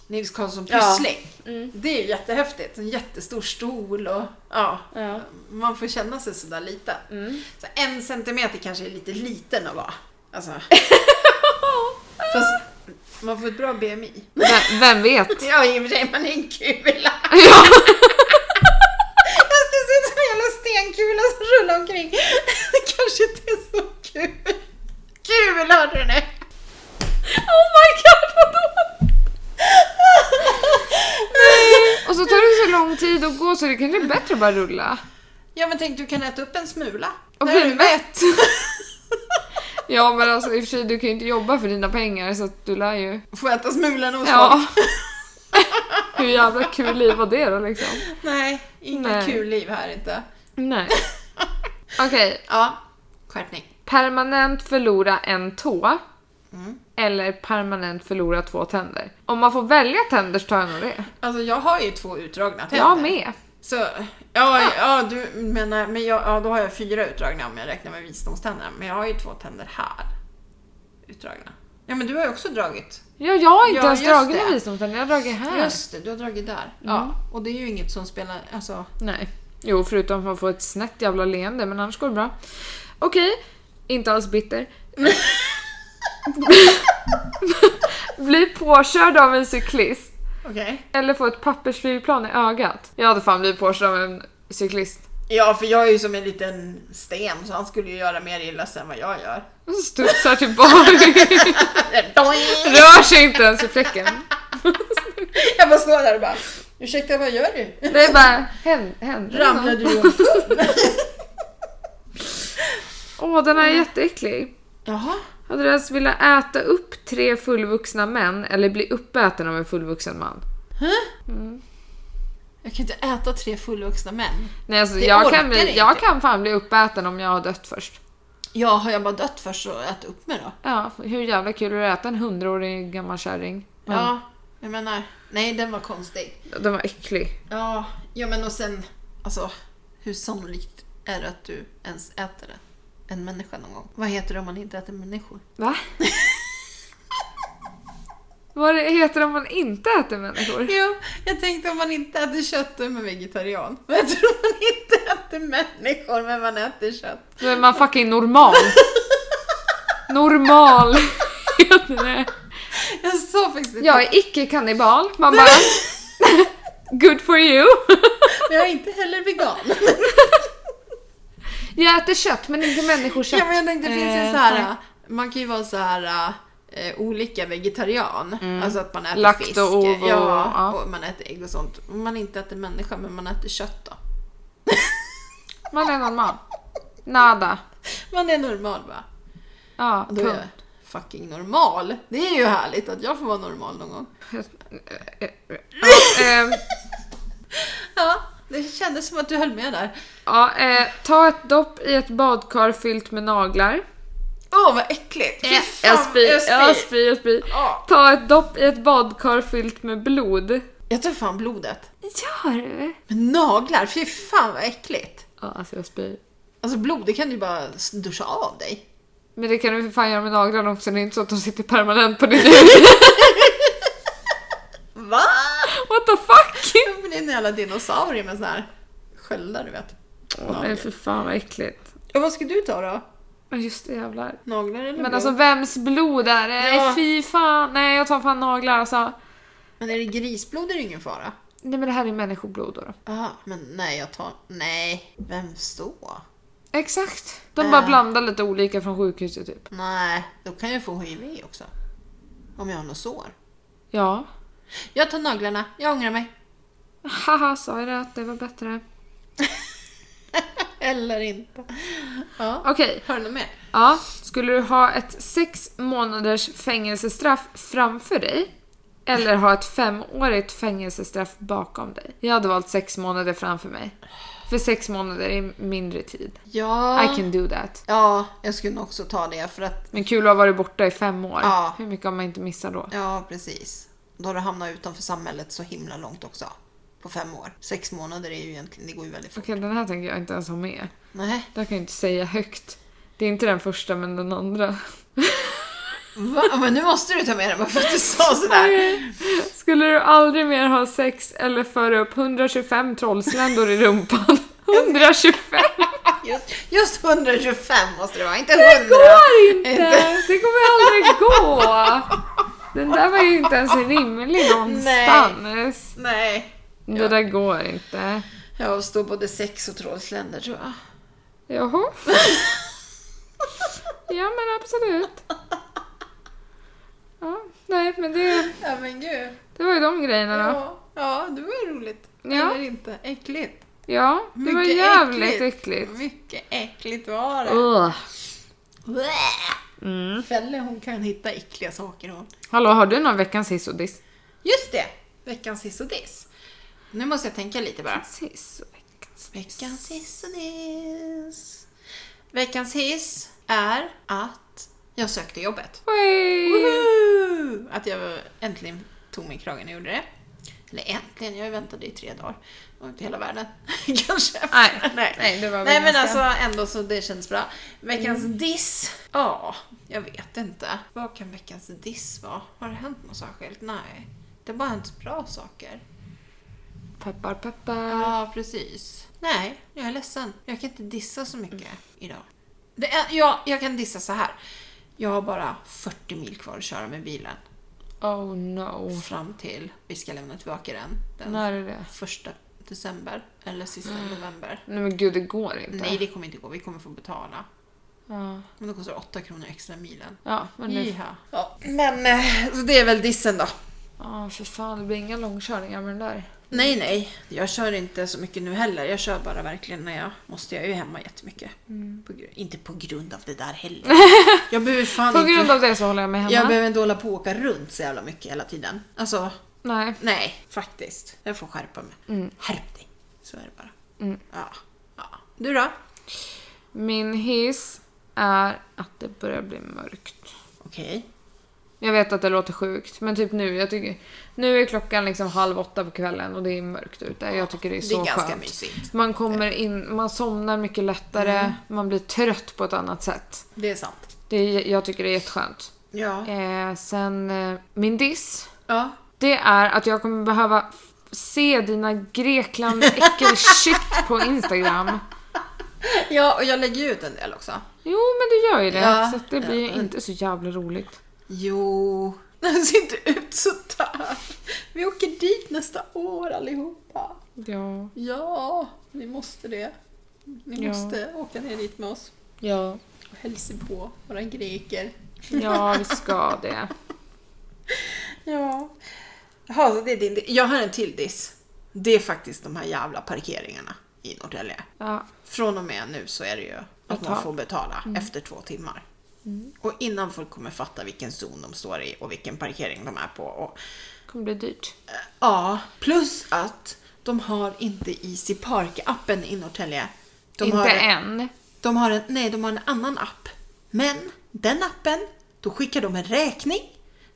Speaker 1: Nils Karlsson
Speaker 2: Ja.
Speaker 1: Pyssling.
Speaker 2: Mm.
Speaker 1: Det är ju jättehäftigt. En jättestor stol och ja,
Speaker 2: Ja.
Speaker 1: man får känna sig sådär liten.
Speaker 2: Mm.
Speaker 1: Så en centimeter kanske är lite liten att vara.
Speaker 2: (laughs)
Speaker 1: Alltså. Fast man får ett bra BMI.
Speaker 2: Vem, vem
Speaker 1: (laughs)
Speaker 2: vet?
Speaker 1: Ja, i och för sig, man är en kula.
Speaker 2: Ja.
Speaker 1: Fast det ser ut som en jävla stenkula som rullar omkring. Det kanske inte är så kul. Kul, hörde du nu?
Speaker 2: Oh my god, vadå? Och så tar det så lång tid att gå så det kanske är bättre att bara rulla.
Speaker 1: Ja, men tänk du kan äta upp en smula.
Speaker 2: Och
Speaker 1: När
Speaker 2: bli
Speaker 1: du-
Speaker 2: mätt. Ja men alltså i och för sig, du kan ju inte jobba för dina pengar så att du lär ju...
Speaker 1: (laughs) Får äta smulan hos folk?
Speaker 2: Ja. (laughs) Hur jävla kul liv var det då liksom?
Speaker 1: Nej, inget
Speaker 2: Nej.
Speaker 1: kul liv här inte.
Speaker 2: Nej. (laughs) Okej,
Speaker 1: Ja, skärpning.
Speaker 2: permanent förlora en tå.
Speaker 1: Mm.
Speaker 2: Eller permanent förlora två tänder. Om man får välja tänder så tar jag nog det.
Speaker 1: Alltså jag har ju två utdragna tänder.
Speaker 2: Jag med.
Speaker 1: Så, ja, ja, du menar, men jag, ja, då har jag fyra utdragna om jag räknar med visdomständerna. Men jag har ju två tänder här. Utdragna. Ja, men du har ju också dragit.
Speaker 2: Ja, jag har inte
Speaker 1: Ja,
Speaker 2: ens
Speaker 1: just
Speaker 2: dragit
Speaker 1: det.
Speaker 2: några visdomständer, jag har dragit här.
Speaker 1: Just det, du har dragit där. Ja, och det är ju inget som spelar... Alltså,
Speaker 2: Nej. Jo, förutom att man får ett snett jävla leende, men annars går det bra. Okej, inte alls bitter. Bli påkörd av en cyklist
Speaker 1: okej.
Speaker 2: eller få ett pappersflygplan i ögat. Jag hade fan blivit påkörd av en cyklist.
Speaker 1: Ja, för jag är ju som en liten sten så han skulle ju göra mer illa sig än vad jag gör.
Speaker 2: Och så Studsar tillbaka,
Speaker 1: Doing!
Speaker 2: rör sig inte ens i fläcken.
Speaker 1: jag bara står där och bara Ursäkta, vad gör du?
Speaker 2: Det är bara, händer, händer det
Speaker 1: Ramlade
Speaker 2: något?
Speaker 1: du omkull?
Speaker 2: Åh, den här är jätteäcklig.
Speaker 1: Jaha.
Speaker 2: Hade du ens velat äta upp tre fullvuxna män eller bli uppäten av en fullvuxen man?
Speaker 1: Jag kan inte äta tre fullvuxna män.
Speaker 2: Nej, alltså,
Speaker 1: Det
Speaker 2: jag,
Speaker 1: orkar
Speaker 2: kan bli,
Speaker 1: inte.
Speaker 2: jag kan fan bli uppäten om jag har dött först.
Speaker 1: Ja, har jag bara dött först så ät upp mig då.
Speaker 2: Ja, hur jävla kul är det att äta en hundraårig gammal kärring? Men
Speaker 1: Ja, jag menar. Nej, den var konstig.
Speaker 2: Den var äcklig.
Speaker 1: Ja, ja men och sen, alltså hur sannolikt är det att du ens äter en, en människa någon gång? Vad heter det om man inte äter människor?
Speaker 2: Va? (laughs) Vad det heter om man inte äter människor?
Speaker 1: Jo, jag tänkte om man inte äter kött då är man vegetarian. Men jag tror man inte äter människor men man äter kött.
Speaker 2: Då är man
Speaker 1: (laughs)
Speaker 2: fucking normal. Normal (laughs) heter det.
Speaker 1: Jag sa faktiskt inte,
Speaker 2: Jag är icke-kannibal. Man bara... (laughs) Good for you! (laughs)
Speaker 1: men jag är inte heller vegan.
Speaker 2: Jag äter kött men inte människokött.
Speaker 1: Ja, men jag tänkte, det finns ju
Speaker 2: Eh,
Speaker 1: så här, man kan ju vara så här eh, olika vegetarian. Alltså att man äter
Speaker 2: Mm. Lakt och
Speaker 1: fisk.
Speaker 2: ovo och-
Speaker 1: ja,
Speaker 2: ja.
Speaker 1: och man äter ägg och sånt. Om Man inte äter människa, men man äter kött då.
Speaker 2: Man är normal. Nada.
Speaker 1: Man är normal va?
Speaker 2: Ja,
Speaker 1: Då är
Speaker 2: punkt.
Speaker 1: jag fucking normal. Det är ju härligt att jag får vara normal någon gång.
Speaker 2: Ja, ehm,
Speaker 1: Ja, det kändes som att du höll med där.
Speaker 2: ja, eh, ta ett dopp i ett badkar fyllt med naglar.
Speaker 1: Åh, vad äckligt! Fy fan,
Speaker 2: jag spyr,
Speaker 1: jag spyr.
Speaker 2: jag spyr, jag spyr.
Speaker 1: Ja.
Speaker 2: Ta ett dopp i ett badkar fyllt med blod.
Speaker 1: Jag tar fan blodet.
Speaker 2: Gör du?
Speaker 1: Men naglar, fy fan vad äckligt!
Speaker 2: Ja, alltså jag spyr.
Speaker 1: Alltså blod, det kan du ju bara duscha av dig.
Speaker 2: Men det kan du för fan göra med naglarna också, det är inte så att de sitter permanent på (laughs) din hud.
Speaker 1: Va?
Speaker 2: What the fuck?
Speaker 1: Jag blir en jävla dinosaurie med sån här sköldar du vet.
Speaker 2: Nej för fan vad äckligt.
Speaker 1: Och vad ska du ta då?
Speaker 2: Ja, Just det jävlar.
Speaker 1: Naglar eller
Speaker 2: Men
Speaker 1: blod?
Speaker 2: alltså vems blod är det? Nej
Speaker 1: Ja.
Speaker 2: fy fan, nej jag tar fan naglar alltså.
Speaker 1: Men är det grisblod är det ingen fara.
Speaker 2: Nej men det här är människoblod då. då.
Speaker 1: Aha, men nej jag tar... Nej, vem då?
Speaker 2: Exakt. De
Speaker 1: Eh.
Speaker 2: bara blandar lite olika från sjukhuset typ.
Speaker 1: Nej, då kan jag få hiv också. Om jag har något sår.
Speaker 2: Ja.
Speaker 1: Jag tar naglarna, jag ångrar mig.
Speaker 2: Haha, sa jag det att det var bättre?
Speaker 1: Eller inte. Ja.
Speaker 2: Okej,
Speaker 1: Har du något mer?
Speaker 2: ja. Skulle du ha ett sex månaders fängelsestraff framför dig? Eller ha ett femårigt fängelsestraff bakom dig? Jag hade valt sex månader framför mig. För sex månader är mindre tid.
Speaker 1: Ja.
Speaker 2: I can do that.
Speaker 1: Ja, jag skulle nog också ta det för att...
Speaker 2: Men kul att ha varit borta i fem år.
Speaker 1: Ja.
Speaker 2: Hur mycket har man inte missat då?
Speaker 1: Ja, precis. Då har du hamnat utanför samhället så himla långt också. På fem år. Sex månader är ju egentligen... Det går ju väldigt fort.
Speaker 2: Okej, den här tänker jag inte ens ha med.
Speaker 1: Nej.
Speaker 2: Den kan jag inte säga högt. Det är inte den första, men den andra.
Speaker 1: Va? Men nu måste du ta med den bara för att du sa sådär.
Speaker 2: (laughs) Skulle du aldrig mer ha sex eller föra upp 125 trollsländor i
Speaker 1: (laughs)
Speaker 2: rumpan? 125!
Speaker 1: Just, just 125 måste det vara, inte 100.
Speaker 2: Det går inte! Det kommer aldrig gå! Den där var ju inte ens rimlig någonstans.
Speaker 1: Nej.
Speaker 2: Det där går inte.
Speaker 1: Jag avstår både sex och trollsländer tror jag.
Speaker 2: Jaha. Ja men absolut. Ja, nej men det,
Speaker 1: Ja men gud.
Speaker 2: det var ju de grejerna då.
Speaker 1: Ja, ja det var ju roligt.
Speaker 2: Ja.
Speaker 1: Eller inte. Äckligt.
Speaker 2: Ja, det var
Speaker 1: Mycket
Speaker 2: jävligt
Speaker 1: äckligt.
Speaker 2: äckligt.
Speaker 1: Mycket äckligt var det.
Speaker 2: Ugh.
Speaker 1: Mm. Fälle hon kan hitta äckliga saker hon.
Speaker 2: Hallå, har du någon veckans hiss och diss?
Speaker 1: Just det! Veckans hiss och diss. Nu måste jag tänka lite bara.
Speaker 2: Hiss och veckans.
Speaker 1: Veckans hiss och diss. Veckans hiss är att jag sökte jobbet.
Speaker 2: Oj!
Speaker 1: Woohoo! Att jag äntligen tog mig i kragen och gjorde det. Eller äntligen, jag väntade i tre dagar. Och inte hela världen. (laughs) Kanske.
Speaker 2: Nej, nej, det var väl
Speaker 1: Nej men
Speaker 2: ganska- Mm.
Speaker 1: alltså ändå så det känns bra. Veckans diss? Ja, jag vet inte. Vad kan veckans diss vara? Har det hänt något särskilt? Nej. Det har bara hänt bra saker.
Speaker 2: Peppar, peppar.
Speaker 1: Ja, precis. Nej, jag är ledsen. Jag kan inte dissa så mycket idag. Det är, ja, jag kan dissa så här. Jag har bara 40 mil kvar att köra med bilen.
Speaker 2: Oh no.
Speaker 1: Fram till vi ska lämna tillbaka den. Den
Speaker 2: När är det?
Speaker 1: första december. Eller sista november.
Speaker 2: Nej men gud, det går inte.
Speaker 1: Nej, det kommer inte gå. Vi kommer få betala.
Speaker 2: Ja,
Speaker 1: Men det kostar 8 kronor extra milen.
Speaker 2: ja men nu...
Speaker 1: Jiha. Ja, men eh, så det är väl dissen då.
Speaker 2: Ja, för fan, det blir inga långkörningar med den där.
Speaker 1: Nej, nej. Jag kör inte så mycket nu heller. Jag kör bara verkligen när jag måste. Jag är ju hemma jättemycket.
Speaker 2: Mm.
Speaker 1: På gru- inte på grund av det där
Speaker 2: (laughs)
Speaker 1: heller. Jag behöver fan
Speaker 2: På grund
Speaker 1: inte...
Speaker 2: av det så håller jag mig hemma.
Speaker 1: Jag behöver inte hålla på och åka runt så jävla mycket hela tiden. Alltså,
Speaker 2: Nej.
Speaker 1: Nej, faktiskt. Jag får skärpa mig.
Speaker 2: Mm.
Speaker 1: Skärp dig. Så är det bara. Ja. ja. Du då?
Speaker 2: Min hiss är att det börjar bli mörkt.
Speaker 1: Okej.
Speaker 2: Jag vet att det låter sjukt, men typ nu. Jag tycker, nu är klockan liksom halv åtta på kvällen och det är mörkt ute. Jag tycker det är
Speaker 1: det är
Speaker 2: så
Speaker 1: ganska
Speaker 2: skönt.
Speaker 1: mysigt. Mm.
Speaker 2: Man kommer in, man somnar mycket lättare, man blir trött på ett annat sätt.
Speaker 1: Det är sant.
Speaker 2: Det är, jag tycker det är jätteskönt.
Speaker 1: Ja.
Speaker 2: Eh, sen, eh, min diss.
Speaker 1: Ja.
Speaker 2: Det är att jag kommer behöva f- se dina
Speaker 1: (laughs)
Speaker 2: Grekland äckelshit på Instagram.
Speaker 1: ja, och jag lägger ju ut en del också.
Speaker 2: Jo, men det gör ju det.
Speaker 1: Ja.
Speaker 2: så att det blir ju inte så jävla roligt.
Speaker 1: Jo. Den ser inte ut sådär. Vi åker dit nästa år allihopa.
Speaker 2: Ja.
Speaker 1: Ja, ni måste det. Ni
Speaker 2: Ja.
Speaker 1: måste åka ner dit med oss
Speaker 2: Ja.
Speaker 1: och hälsa på våra greker.
Speaker 2: Ja, vi ska det.
Speaker 1: Ja. Jaha, så det är din di- Jag har en till diss. Det är faktiskt de här jävla parkeringarna i Norrtälje.
Speaker 2: Ja.
Speaker 1: Från och med nu så är det ju att
Speaker 2: Betala.
Speaker 1: man får betala Mm. efter två timmar. Och innan folk kommer fatta vilken zon de står i och vilken parkering de är på. Och, eh,
Speaker 2: kommer bli dyrt.
Speaker 1: ja, plus att de har inte Easy Park-appen i Norrtälje. De
Speaker 2: inte
Speaker 1: har,
Speaker 2: än.
Speaker 1: De har en, nej, de har en annan app. Men den appen, då skickar de en räkning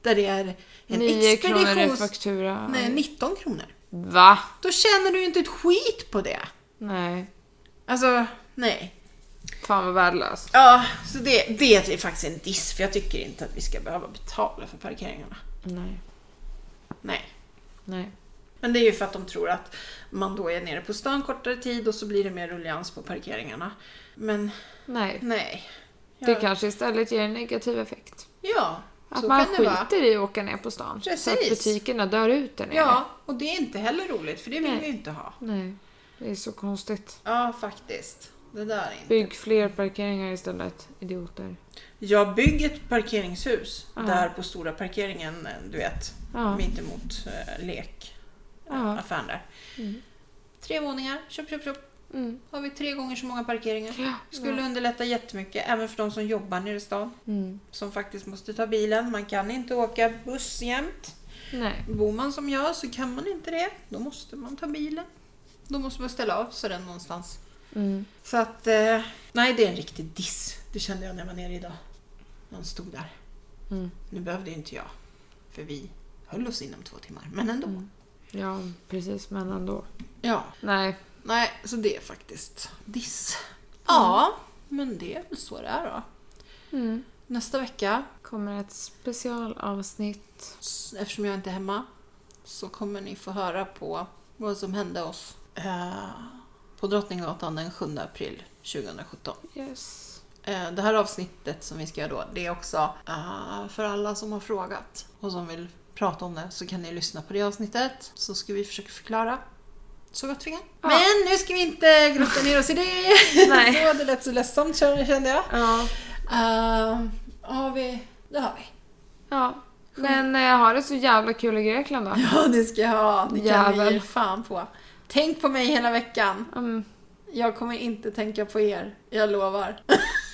Speaker 1: där det är en
Speaker 2: 9 kronor i
Speaker 1: expeditions...
Speaker 2: faktura.
Speaker 1: Nej, 19 kronor.
Speaker 2: Va?
Speaker 1: Då tjänar du ju inte ett skit på det.
Speaker 2: Nej.
Speaker 1: Alltså, nej.
Speaker 2: Fan vad värdelöst.
Speaker 1: Ja, så det, det är faktiskt en diss för jag tycker inte att vi ska behöva betala för parkeringarna.
Speaker 2: Nej.
Speaker 1: Nej.
Speaker 2: Nej.
Speaker 1: Men det är ju för att de tror att man då är nere på stan kortare tid och så blir det mer rullians på parkeringarna. Men
Speaker 2: Nej.
Speaker 1: nej. Ja,
Speaker 2: Det kanske istället ger en negativ effekt.
Speaker 1: ja
Speaker 2: Att
Speaker 1: så
Speaker 2: man
Speaker 1: kan det vara.
Speaker 2: skiter i att åka ner på stan. Så att
Speaker 1: Precis.
Speaker 2: butikerna dör ut där nere.
Speaker 1: Ja, och det är inte heller roligt för det vill vi ju inte ha.
Speaker 2: Nej. Det är så konstigt.
Speaker 1: Ja, faktiskt. Det där är inte.
Speaker 2: Bygg fler parkeringar istället. Idioter.
Speaker 1: Jag bygger ett parkeringshus där på stora parkeringen, du vet,
Speaker 2: Ja.
Speaker 1: mittemot eh, lekaffären
Speaker 2: Ja.
Speaker 1: där. Tre våningar, köp, köp, köp.
Speaker 2: Mm.
Speaker 1: Har vi tre gånger så många parkeringar. Skulle underlätta jättemycket, även för de som jobbar nere i stan.
Speaker 2: Mm.
Speaker 1: Som faktiskt måste ta bilen. Man kan inte åka buss jämt.
Speaker 2: Nej.
Speaker 1: Bor man som jag så kan man inte det. Då måste man ta bilen. Då måste man ställa av så den någonstans.
Speaker 2: Mm.
Speaker 1: Så att, eh, nej det är en riktig diss. Det kände jag när jag var nere idag. Någon stod där.
Speaker 2: Mm.
Speaker 1: Nu behövde ju inte jag. För vi höll oss inom två timmar. Men ändå.
Speaker 2: Ja, precis. Men ändå.
Speaker 1: Ja,
Speaker 2: Nej.
Speaker 1: nej så det är faktiskt diss. Ja, men det är väl så det är då.
Speaker 2: Mm.
Speaker 1: Nästa vecka,
Speaker 2: Kommer ett specialavsnitt.
Speaker 1: s- eftersom jag inte är hemma, så kommer ni få höra på vad som hände oss eh, på Drottninggatan den 7 april 2017.
Speaker 2: Yes.
Speaker 1: Eh, Det här avsnittet som vi ska göra då, det är också eh, för alla som har frågat och som vill prata om det så kan ni lyssna på det avsnittet så ska vi försöka förklara så gott vi kan.
Speaker 2: Ja.
Speaker 1: Men nu ska vi inte grotta ner oss i (laughs) det!
Speaker 2: Nej.
Speaker 1: så, det lät så ledsamt kände jag.
Speaker 2: Ja.
Speaker 1: Uh, har vi? Det har vi.
Speaker 2: Ja. Men eh, ha det så jävla kul i Grekland då.
Speaker 1: (laughs) Ja, det ska jag ha. Det kan
Speaker 2: Jävel.
Speaker 1: ni ge fan på. Tänk på mig hela veckan.
Speaker 2: Mm.
Speaker 1: Jag kommer inte tänka på er. Jag lovar.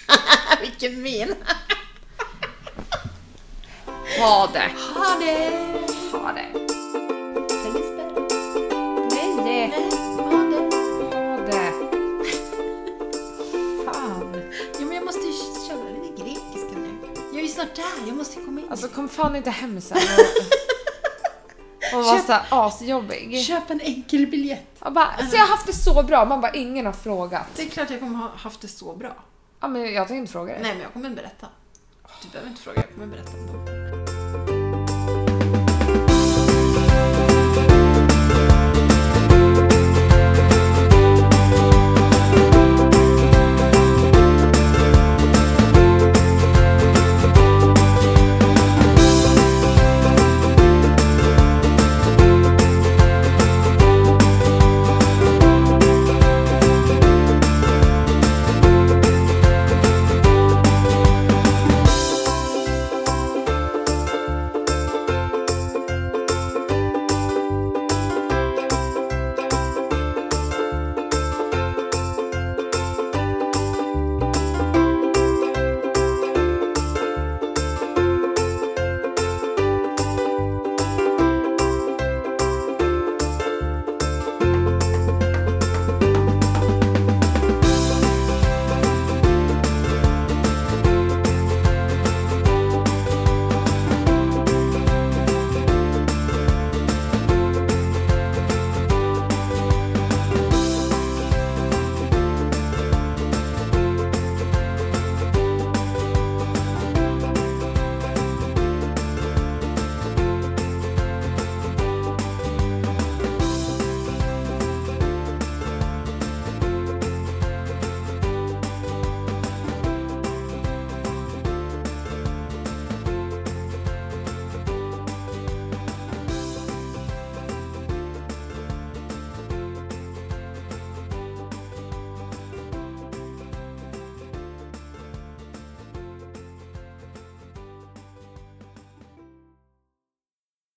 Speaker 1: (laughs) Vilken min!
Speaker 2: Ha det!
Speaker 1: Ha det!
Speaker 2: Ha det!
Speaker 1: Nej,
Speaker 2: Nej,
Speaker 1: ha det!
Speaker 2: ha det!
Speaker 1: Fan. Ja, men jag måste ju köra lite grekiska nu. Jag är ju snart där, jag måste ju komma in.
Speaker 2: Alltså kom fan inte hem sen (laughs) och- och vara såhär asjobbig.
Speaker 1: Köp en enkel biljett.
Speaker 2: Jag bara, så jag har haft det så bra. Man bara, ingen har frågat.
Speaker 1: Det är klart jag kommer ha haft det så bra.
Speaker 2: Ja men jag tänker inte fråga dig.
Speaker 1: Nej, men jag kommer berätta. Du behöver inte fråga, jag kommer berätta.